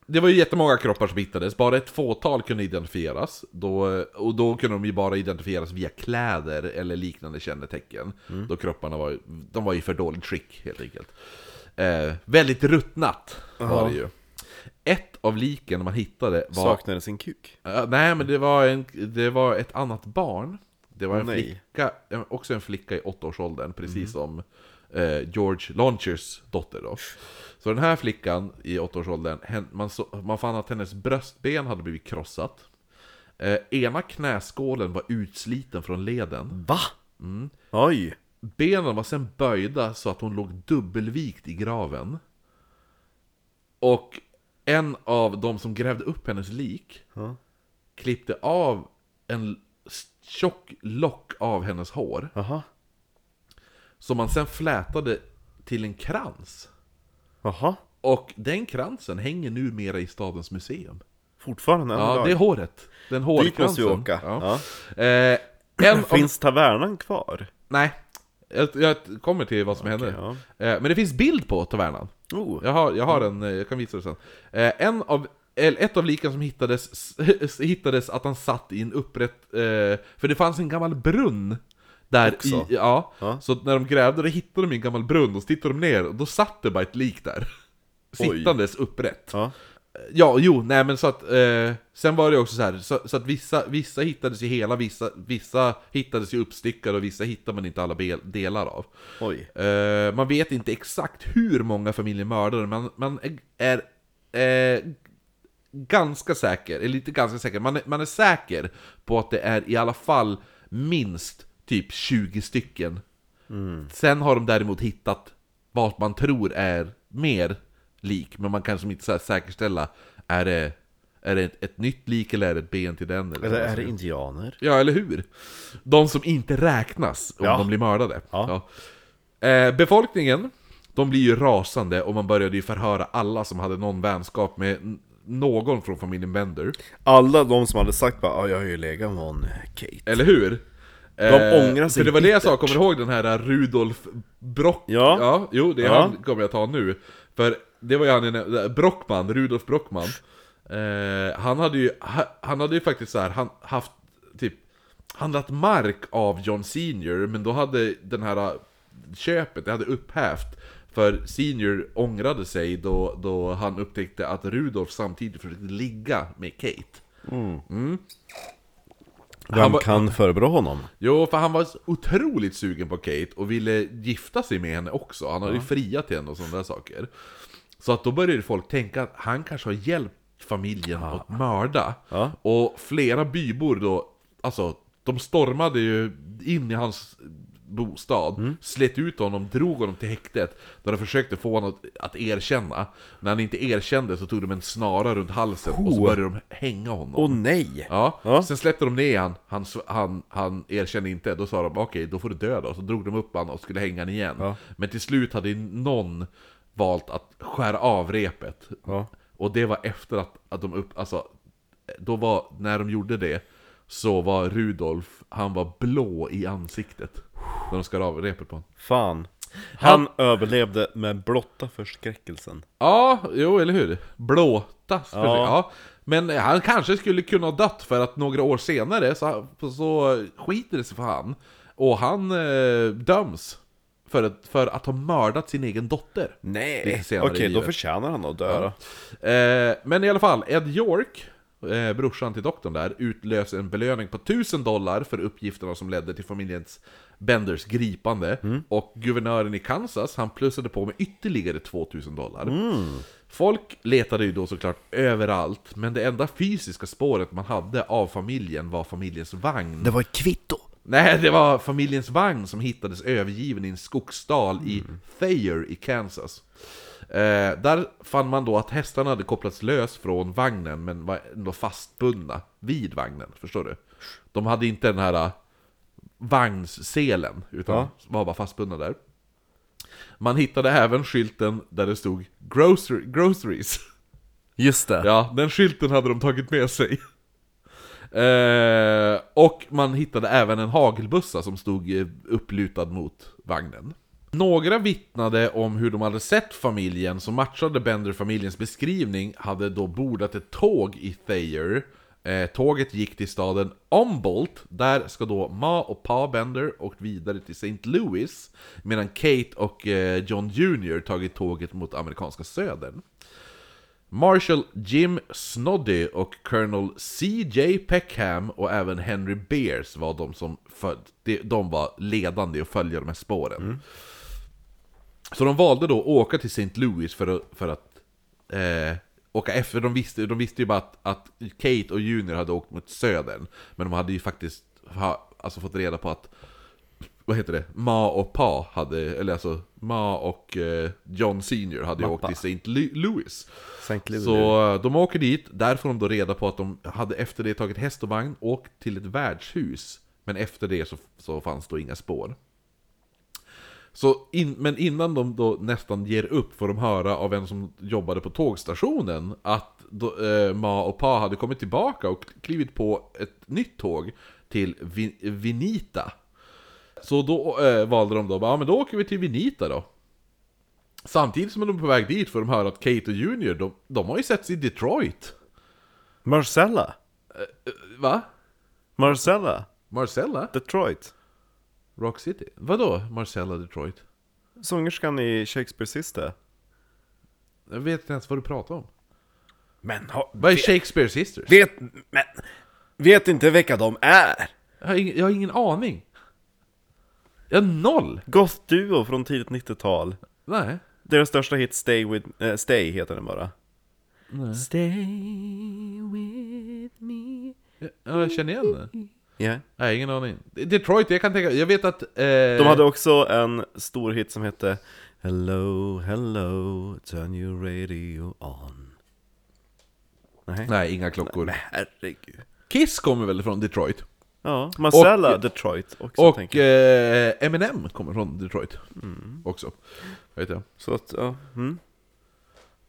B: det var ju jättemånga kroppar som hittades, bara ett fåtal kunde identifieras. Då, och då kunde de ju bara identifieras via kläder eller liknande kännetecken. Då kropparna var, de var i för dåligt skick helt enkelt. Eh, väldigt ruttnat var det ju. Ett av liken man hittade var...
A: Saknade sin kuk.
B: Ja, nej, men det var, en, det var ett annat barn. Det var en
A: Nej.
B: flicka, en- också en flicka i åttaårsåldern, precis som eh, George Launchers dotter då. Så den här flickan i åttaårsåldern, hen- man, så, man fann att hennes bröstben hade blivit krossat. Eh, ena knäskålen var utsliten från leden.
A: Va? Mm. Oj!
B: Benen var sen böjda så att hon låg dubbelvikt i graven. Och en av de som grävde upp hennes lik
A: Ja.
B: klippte av en l- tjock lock av hennes hår.
A: Jaha.
B: Som man sen flätade till en krans.
A: Jaha.
B: Och den kransen hänger numera i stadens museum.
A: Fortfarande än
B: Ja,
A: idag.
B: det är håret. Den hårkransen.
A: Dit måste vi åka.
B: Ja. Eh, en av-
A: Finns tavernan kvar?
B: Nej, jag, jag kommer till vad som händer. Eh, men det finns bild på tavernan.
A: Oh.
B: Jag har, jag har en, eh, jag kan visa det sen. Eh, en av, eller ett av liken som hittades, hittades att han satt i en upprätt... Eh, för det fanns en gammal brunn Där
A: Också?
B: I, ja.
A: Ja.
B: Så att när de grävde då hittade de en gammal brunn och så tittade de ner och då satt det bara ett lik där. Sittandes upprätt.
A: Ja.
B: Ja, jo, nej men så att... Eh, sen var det också så här, så, så att vissa, vissa hittades ju hela, vissa, vissa hittades ju uppstyckade och vissa hittade man inte alla bel- delar av.
A: Oj.
B: Eh, man vet inte exakt hur många familjer mördade, men man är eh, ganska säker, eller inte ganska säker, man är, man är säker på att det är i alla fall minst typ 20 stycken.
A: Mm.
B: Sen har de däremot hittat vad man tror är mer lik, men man kan som inte så här säkerställa, är det, är det ett, ett nytt lik eller är det ett ben till den?
A: Eller
B: vad som
A: är det indianer?
B: Ja, eller hur? De som inte räknas om
A: Ja.
B: de blir mördade.
A: Ja.
B: Ja. Eh, befolkningen, de blir ju rasande och man började ju förhöra alla som hade någon vänskap med n- någon från familjen Bender.
A: Alla de som hade sagt bara "Ja, jag har ju legat med hon Kate.
B: Eller hur? Eh,
A: De ångrar sig
B: För det var det jag sa,
A: bittert.
B: kommer du ihåg den här eh, Rudolf Brock?
A: Ja.
B: jo, det är
A: Ja.
B: han kommer jag ta nu. För det var ju han, i- eh, Brockman, Rudolf Brockman. Eh, han hade ju, ha- han hade ju faktiskt så här, han haft typ handlat mark av John Senior, men då hade den här eh, köpet, det hade upphävt. För Senior ångrade sig då, då han upptäckte att Rudolf samtidigt försökte ligga med Kate.
A: Vem
B: Han var-
A: kan förebrå honom?
B: Jo, för han var otroligt sugen på Kate och ville gifta sig med henne också. Han hade ju friat till henne och sådana där saker. Så att då började folk tänka att han kanske har hjälpt familjen att mörda.
A: Ja.
B: Och flera bybor då, alltså de stormade ju in i hans bostad, slet ut honom, drog honom till häktet. Där de försökte få honom att- att erkänna. När han inte erkände så tog de en snara runt halsen och så började de hänga honom.
A: Åh nej!
B: Ja.
A: Ja.
B: sen släppte de ner han, han, sv- han, han erkände inte, då sa de okej, då får du dö då. Så drog de upp han och skulle hänga han igen.
A: Ja.
B: Men till slut hade ju någon valt att skära av repet.
A: Ja.
B: Och det var efter att, att de upp, alltså, då var, när de gjorde det, så var Rudolf, han var blå i ansiktet. När de skar av repet på honom.
A: Fan. Han, överlevde med blotta förskräckelsen.
B: Ja, jo eller hur? Blåta för sig.
A: Ja.
B: ja. Men han kanske skulle kunna ha dött för att några år senare så, så skiter det sig för han. Och han eh, döms för att, för att ha mördat sin egen dotter.
A: Nej!
B: Lite
A: Okej,
B: senare i
A: då
B: livet.
A: förtjänar han att dö.
B: Eh, men i alla fall, Ed York, eh, brorsan till doktorn där, utlöser en belöning på 1000 dollar för uppgifterna som ledde till familjens Benders gripande. Och guvernören i Kansas, han plussade på med ytterligare 2000 dollar. Folk letade ju då såklart överallt, men det enda fysiska spåret man hade av familjen var familjens vagn.
A: var ett kvitto!
B: Nej, det var familjens vagn som hittades övergiven i en skogsdal i Thayer i Kansas. Eh, där fann man då att hästarna hade kopplats lös från vagnen men var ändå fastbundna vid vagnen, förstår du? De hade inte den här eh, vagnsselen, utan
A: Ja.
B: var bara fastbundna där. Man hittade även skylten där det stod grocer- groceries.
A: Just det.
B: Ja, den skylten hade de tagit med sig. Eh, och man hittade även en hagelbössa som stod eh, upplutad mot vagnen. Några vittnade om hur de hade sett familjen som matchade Bender-familjens beskrivning hade då bordat ett tåg i Thayer. Eh, tåget gick till staden Humboldt, där ska då Ma och Pa Bender och vidare till St. Louis, medan Kate och eh, John Jr tagit tåget mot amerikanska södern. Marshall Jim Snoddy och Colonel CJ Peckham och även Henry Beers var de som föl- de, de var ledande i att följa de här spåren. Så de valde då att åka till St. Louis för att, för att eh, åka efter. De visste, de visste ju bara att, att Kate och Junior hade åkt mot södern. Men de hade ju faktiskt ha, alltså fått reda på att vad heter det? Ma och Pa hade, eller alltså Ma och eh, John Senior hade ju åkt
A: Mappa.
B: till St. Lu- Louis.
A: Sankt Louis.
B: Så eh, de åker dit, där får de då reda på att de hade efter det tagit häst och vagn, åkt till ett värdshus. Men efter det så, så fanns då inga spår. Så in, men innan de då nästan ger upp får de höra av en som jobbade på tågstationen att då, eh, Ma och Pa hade kommit tillbaka och klivit på ett nytt tåg till Vi, Vinita. Så då eh, valde de då, ja men då åker vi till Vinita då. Samtidigt som de är på väg dit får de höra att Kate och Junior, de, de har ju setts i Detroit.
A: Marcella!
B: Eh, Va?
A: Marcella!
B: Marcella?
A: Detroit!
B: Rock City? Vadå Marcella Detroit?
A: Sångerskan i Shakespeares sista.
B: Jag vet inte ens vad du pratar om.
A: Men ha,
B: Vad är Shakespeare Sisters?
A: vet, men, vet inte vilka de är?
B: Jag har ingen, jag har ingen aning. Jag har noll!
A: Goth-duo från tidigt 90-tal.
B: Nej.
A: Deras största hit Stay with, eh, Stay heter den bara.
B: Nej.
A: Stay with me.
B: Jag, jag känner igen det.
A: Ja.
B: Nej, ingen aning. Detroit, jag kan tänka... Jag vet att... Eh,
A: De hade också en stor hit som hette Hello, hello, turn your radio on. Nej.
B: Nej, inga klockor.
A: Men herregud.
B: Kiss kommer väl från Detroit?
A: Ja, Marcella Detroit också
B: Och
A: tänker jag.
B: eh, Eminem kommer från Detroit. Också. Vet jag.
A: Så att, ja. Mm.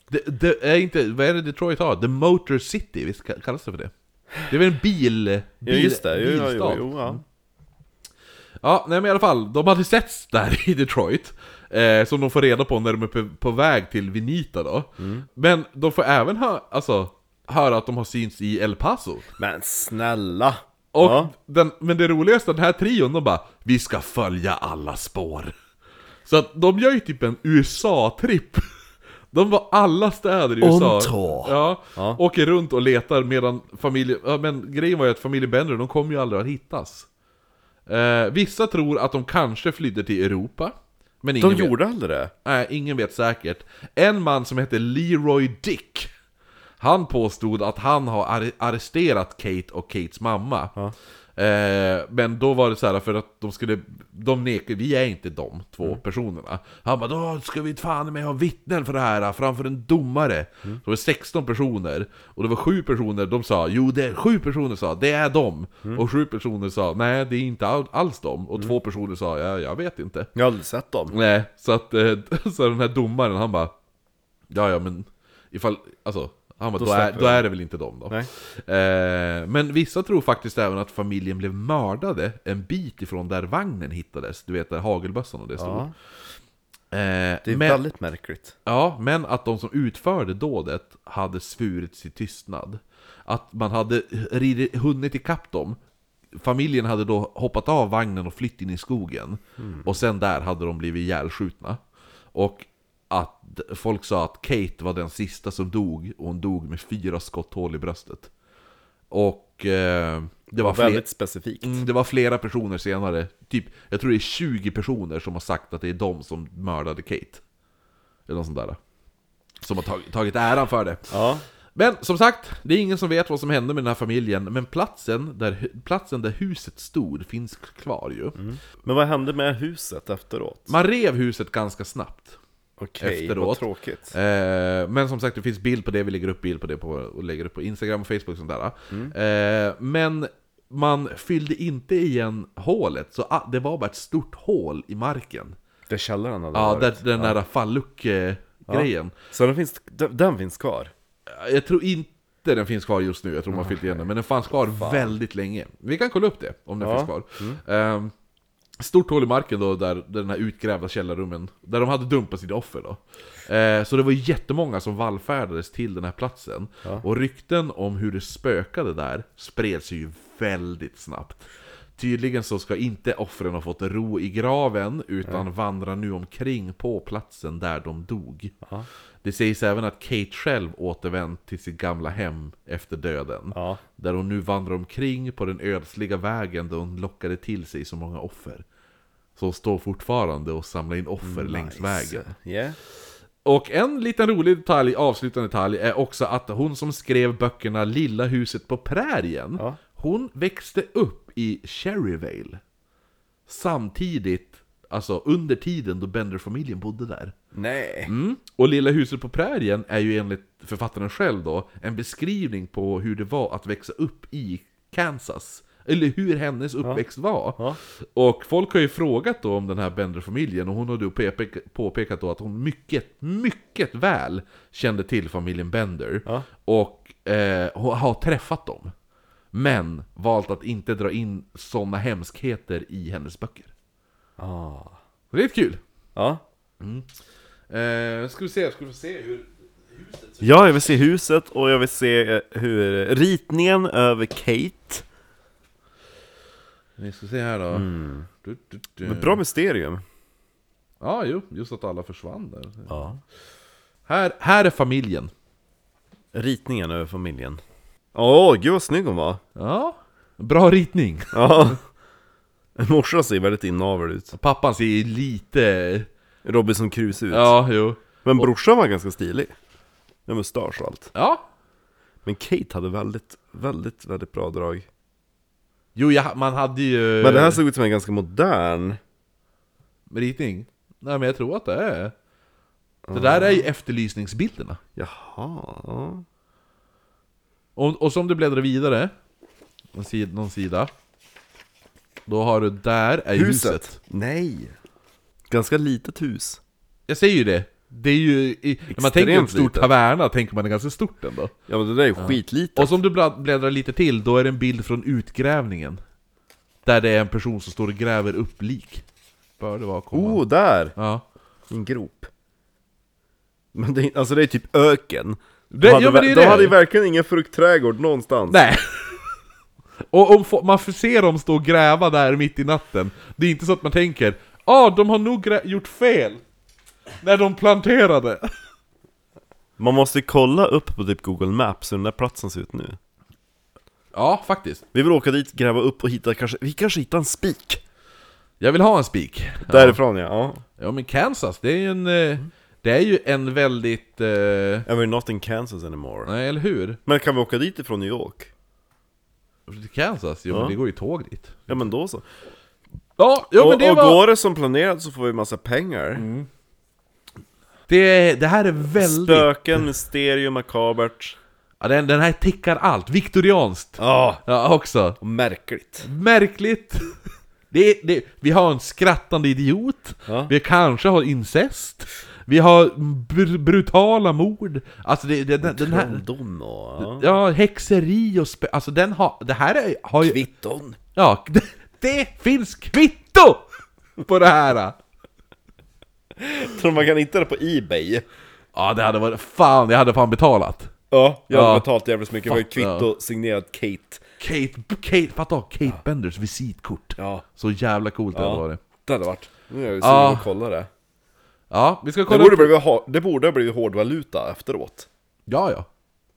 B: Det, det är eh, inte, vad är det Detroit har? The Motor City, visst ka- kallas det för det? Det är väl en bil... bil
A: ja just det, jo, jo, jo,
B: bilstad.
A: jo ja.
B: Ja, nej men i alla fall, de hade setts där i Detroit. Eh, som de får reda på när de är på, på väg till Vinita då.
A: Mm.
B: Men de får även hö- alltså, höra att de har synts i El Paso.
A: Men snälla!
B: Och
A: ja.
B: den, men det roligaste, den här trion, de bara Vi ska följa alla spår. Så att de gör ju typ en USA-tripp. De var alla städer i
A: On
B: USA.
A: tour.
B: Ja,
A: Ja.
B: Åker runt och letar medan familjen... Ja, men grejen var ju att familjen Bender, de kommer ju aldrig att hittas. Eh, vissa tror att de kanske flydde till Europa. Men ingen
A: De
B: vet.
A: gjorde aldrig det?
B: Nej, ingen vet säkert. En man som hette Leroy Dick. Han påstod att han har ar- arresterat Kate och Kates mamma. Eh, men då var det så här för att de skulle... De nekade, vi är inte de två personerna. Han bara då ska vi fan med ha vittnen för det här framför en domare. Så det var 16 personer. Och det var sju personer, de sa jo det är sju personer sa det är de. Och sju personer sa nej det är inte all- alls de. Och två personer sa ja, jag vet inte.
A: Jag har aldrig sett dem.
B: Nej, så att eh, så den här domaren han bara Ja ja men ifall, alltså han bara, då, är,
A: släpper
B: då
A: vi.
B: är det väl inte dem då.
A: Nej.
B: Eh, men vissa tror faktiskt även att familjen blev mördade en bit ifrån där vagnen hittades. Du vet där hagelbössan och det stod.
A: Ja,
B: Eh,
A: det är
B: men,
A: väldigt märkligt.
B: ja, men att de som utförde dådet hade svurit sig tystnad. Att man hade ridit, hunnit ikapp dem. Familjen hade då hoppat av vagnen och flytt in i skogen. Och sen där hade de blivit ihjälskjutna. Och att d- folk sa att Kate var den sista som dog och hon dog med fyra skotthål i bröstet. Och eh, det var fler-
A: Väldigt specifikt.
B: Mm, det var flera personer senare, typ, jag tror det är 20 personer som har sagt att det är de som mördade Kate. Eller något sånt där. Som har tag- tagit äran för det.
A: Ja.
B: Men som sagt, det är ingen som vet vad som hände med den här familjen, men platsen där, hu- platsen där huset stod finns kvar ju.
A: Men vad hände med huset efteråt?
B: Man rev huset ganska snabbt.
A: Okej, vad
B: efteråt.
A: tråkigt.
B: Eh, men som sagt, det finns bild på det, vi lägger upp bild på det på, och lägger upp på Instagram och Facebook och sånt där. Eh, men man fyllde inte igen hålet, så ah, det var bara ett stort hål i marken.
A: Det är källaren hade
B: Ja,
A: varit.
B: där, den där falluck-grejen.
A: Så den finns, den den finns kvar?
B: Jag tror inte den finns kvar just nu, jag tror man har fyllt igen den, men den fanns kvar väldigt länge. Vi kan kolla upp det, om den
A: Ja.
B: finns kvar. Ehm, Stort hål i marken då, där där den här utgrävda källarrummen, där de hade dumpat sina offer då. Eh, så det var jättemånga som vallfärdades till den här platsen. Och rykten om hur det spökade där spreds ju väldigt snabbt. Tydligen så ska inte offren ha fått ro i graven, utan vandrar nu omkring på platsen där de dog. Det sägs även att Kate själv återvänt till sitt gamla hem efter döden.
A: Ja.
B: Där hon nu vandrar omkring på den ödsliga vägen där hon lockade till sig så många offer. Så hon står fortfarande och samlar in offer längs vägen.
A: Yeah.
B: Och en liten rolig detalj, avslutande detalj, är också att hon som skrev böckerna Lilla huset på prärien,
A: Ja.
B: hon växte upp i Cherryvale. Samtidigt, alltså under tiden då Bender-familjen bodde där.
A: Nej.
B: Mm. Och Lilla huset på prärien är ju enligt författaren själv då en beskrivning på hur det var att växa upp i Kansas. Eller hur hennes uppväxt var.
A: Ja.
B: Och folk har ju frågat då om den här Bender-familjen och hon har då påpek- påpekat då att hon mycket, mycket väl kände till familjen Bender.
A: Ja.
B: Och eh, hon har träffat dem. Men valt att inte dra in sådana hemskheter i hennes böcker.
A: Ah.
B: Så det är lite kul!
A: Ja.
B: Eh, ska vi se, ska vi få se hur huset ser ut?
A: ja, jag vill se huset och jag vill se eh, hur ritningen över Kate
B: Vi ska se här då. Du, du, du.
A: Mm. Men bra mysterium.
B: Ja, jo, just att alla försvann där.
A: Ja.
B: Här, här är familjen.
A: Ritningen över familjen. Åh, gud vad snygg hon var!
B: Ja, bra ritning.
A: Ja. Morsan ser väldigt inavel ut.
B: Pappan ser ju lite...
A: Robinson Crusoe ut.
B: Ja, jo.
A: Men brorsan var ganska stilig. Med mustasch och allt.
B: Ja.
A: Men Kate hade väldigt, väldigt, väldigt bra drag.
B: Jo, jag, man hade ju...
A: Men den här såg ut som en ganska modern.
B: Ritning? Nej, men jag tror att det är... Det där är ju efterlysningsbilderna.
A: Jaha. ja.
B: Och, och som du bläddrar vidare, en sid, någon sida. Då har du, där är huset.
A: Nej. Ganska litet hus.
B: Jag säger ju det. Det är ju, i, när man tänker en
A: Extremt
B: stor
A: litet.
B: taverna tänker man det är ganska stort ändå.
A: Ja men det där är ju skitlitet.
B: Och som du blad- bläddrar lite till, då är det en bild från utgrävningen. Där det är en person som står och gräver upp lik. Bör det vara komma.
A: Oh, där!
B: Ja.
A: En grop. Men det, är- alltså det är typ öken.
B: Det-
A: de hade,
B: ja, men det är
A: ver-
B: det.
A: de hade ju verkligen ingen fruktträdgård någonstans.
B: Nej! Och om fo- man får se dem stå och gräva där mitt i natten, det är inte så att man tänker ah, de har nog grä- gjort fel! När de planterade!
A: Man måste ju kolla upp på typ Google Maps hur den där platsen ser ut nu.
B: Ja, faktiskt.
A: Vi vill åka dit, gräva upp och hitta kanske, vi kanske hittar en spik!
B: Jag vill ha en spik. Ja.
A: Därifrån ja, ja.
B: ja, men Kansas, det är ju en... eh, Det är ju en väldigt... eh,
A: And we're not in Kansas anymore.
B: Nej, eller hur?
A: Men kan vi åka dit ifrån New York?
B: Kansas? Jo,
A: Ja.
B: men det går ju tåg dit.
A: Ja men då så.
B: Ja, ja men
A: och
B: det
A: och
B: var... Mm.
A: går det som planerat så får vi massa pengar.
B: Det, det här är väldigt...
A: Spöken, mysterium, makabert.
B: Ja, den, den här tickar allt, viktorianskt!
A: Ja,
B: Ja, också.
A: och märkligt.
B: Märkligt! Det, är- det, vi har en skrattande idiot,
A: Ja.
B: vi kanske har incest, vi har br- brutala mord, alltså det, det, den, den här...
A: Trolldom och... Ja.
B: Ja, häxeri och spe, Alltså den har... Det här är, har ju...
A: Kvitton.
B: Ja, det, det finns kvitto! På det här!
A: Tror man kan hitta det på Ebay?
B: Ja, det hade varit... Fan, jag hade fan betalat!
A: Ja, jag
B: Ja.
A: hade betalat jävligt mycket för
B: Fan,
A: ett kvitto signerat Kate.
B: Kate... Kate... Fatta, Kate Benders visitkort!
A: Ja,
B: Så jävla coolt det hade varit.
A: det hade varit. Nu är jag ju sugen
B: Ja.
A: att kolla det.
B: Ja, vi ska
A: Det
B: kolla...
A: borde, blivit, ha- det borde ha blivit hårdvaluta efteråt.
B: Ja, ja.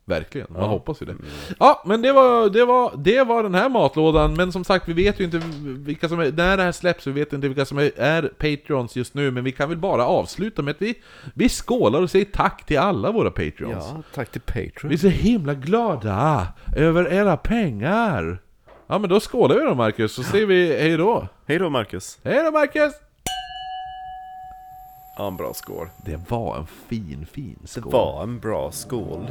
B: Verkligen, man hoppas ju det. Ja, men det var, det, var, det var den här matlådan, men som sagt vi vet ju inte vilka som är, när det här släpps, vi vet inte vilka som är, är Patreons just nu, men vi kan väl bara avsluta med att vi, vi skålar och säger tack till alla våra Patreons.
A: tack till
B: Vi
A: Patreon.
B: är så himla glada över era pengar! Ja men då skålar vi då Marcus, så säger vi hej då!
A: Hej då Marcus.
B: Hej då Marcus!
A: Ja, en bra skål.
B: Det var en fin, fin skål.
A: Var en bra skål.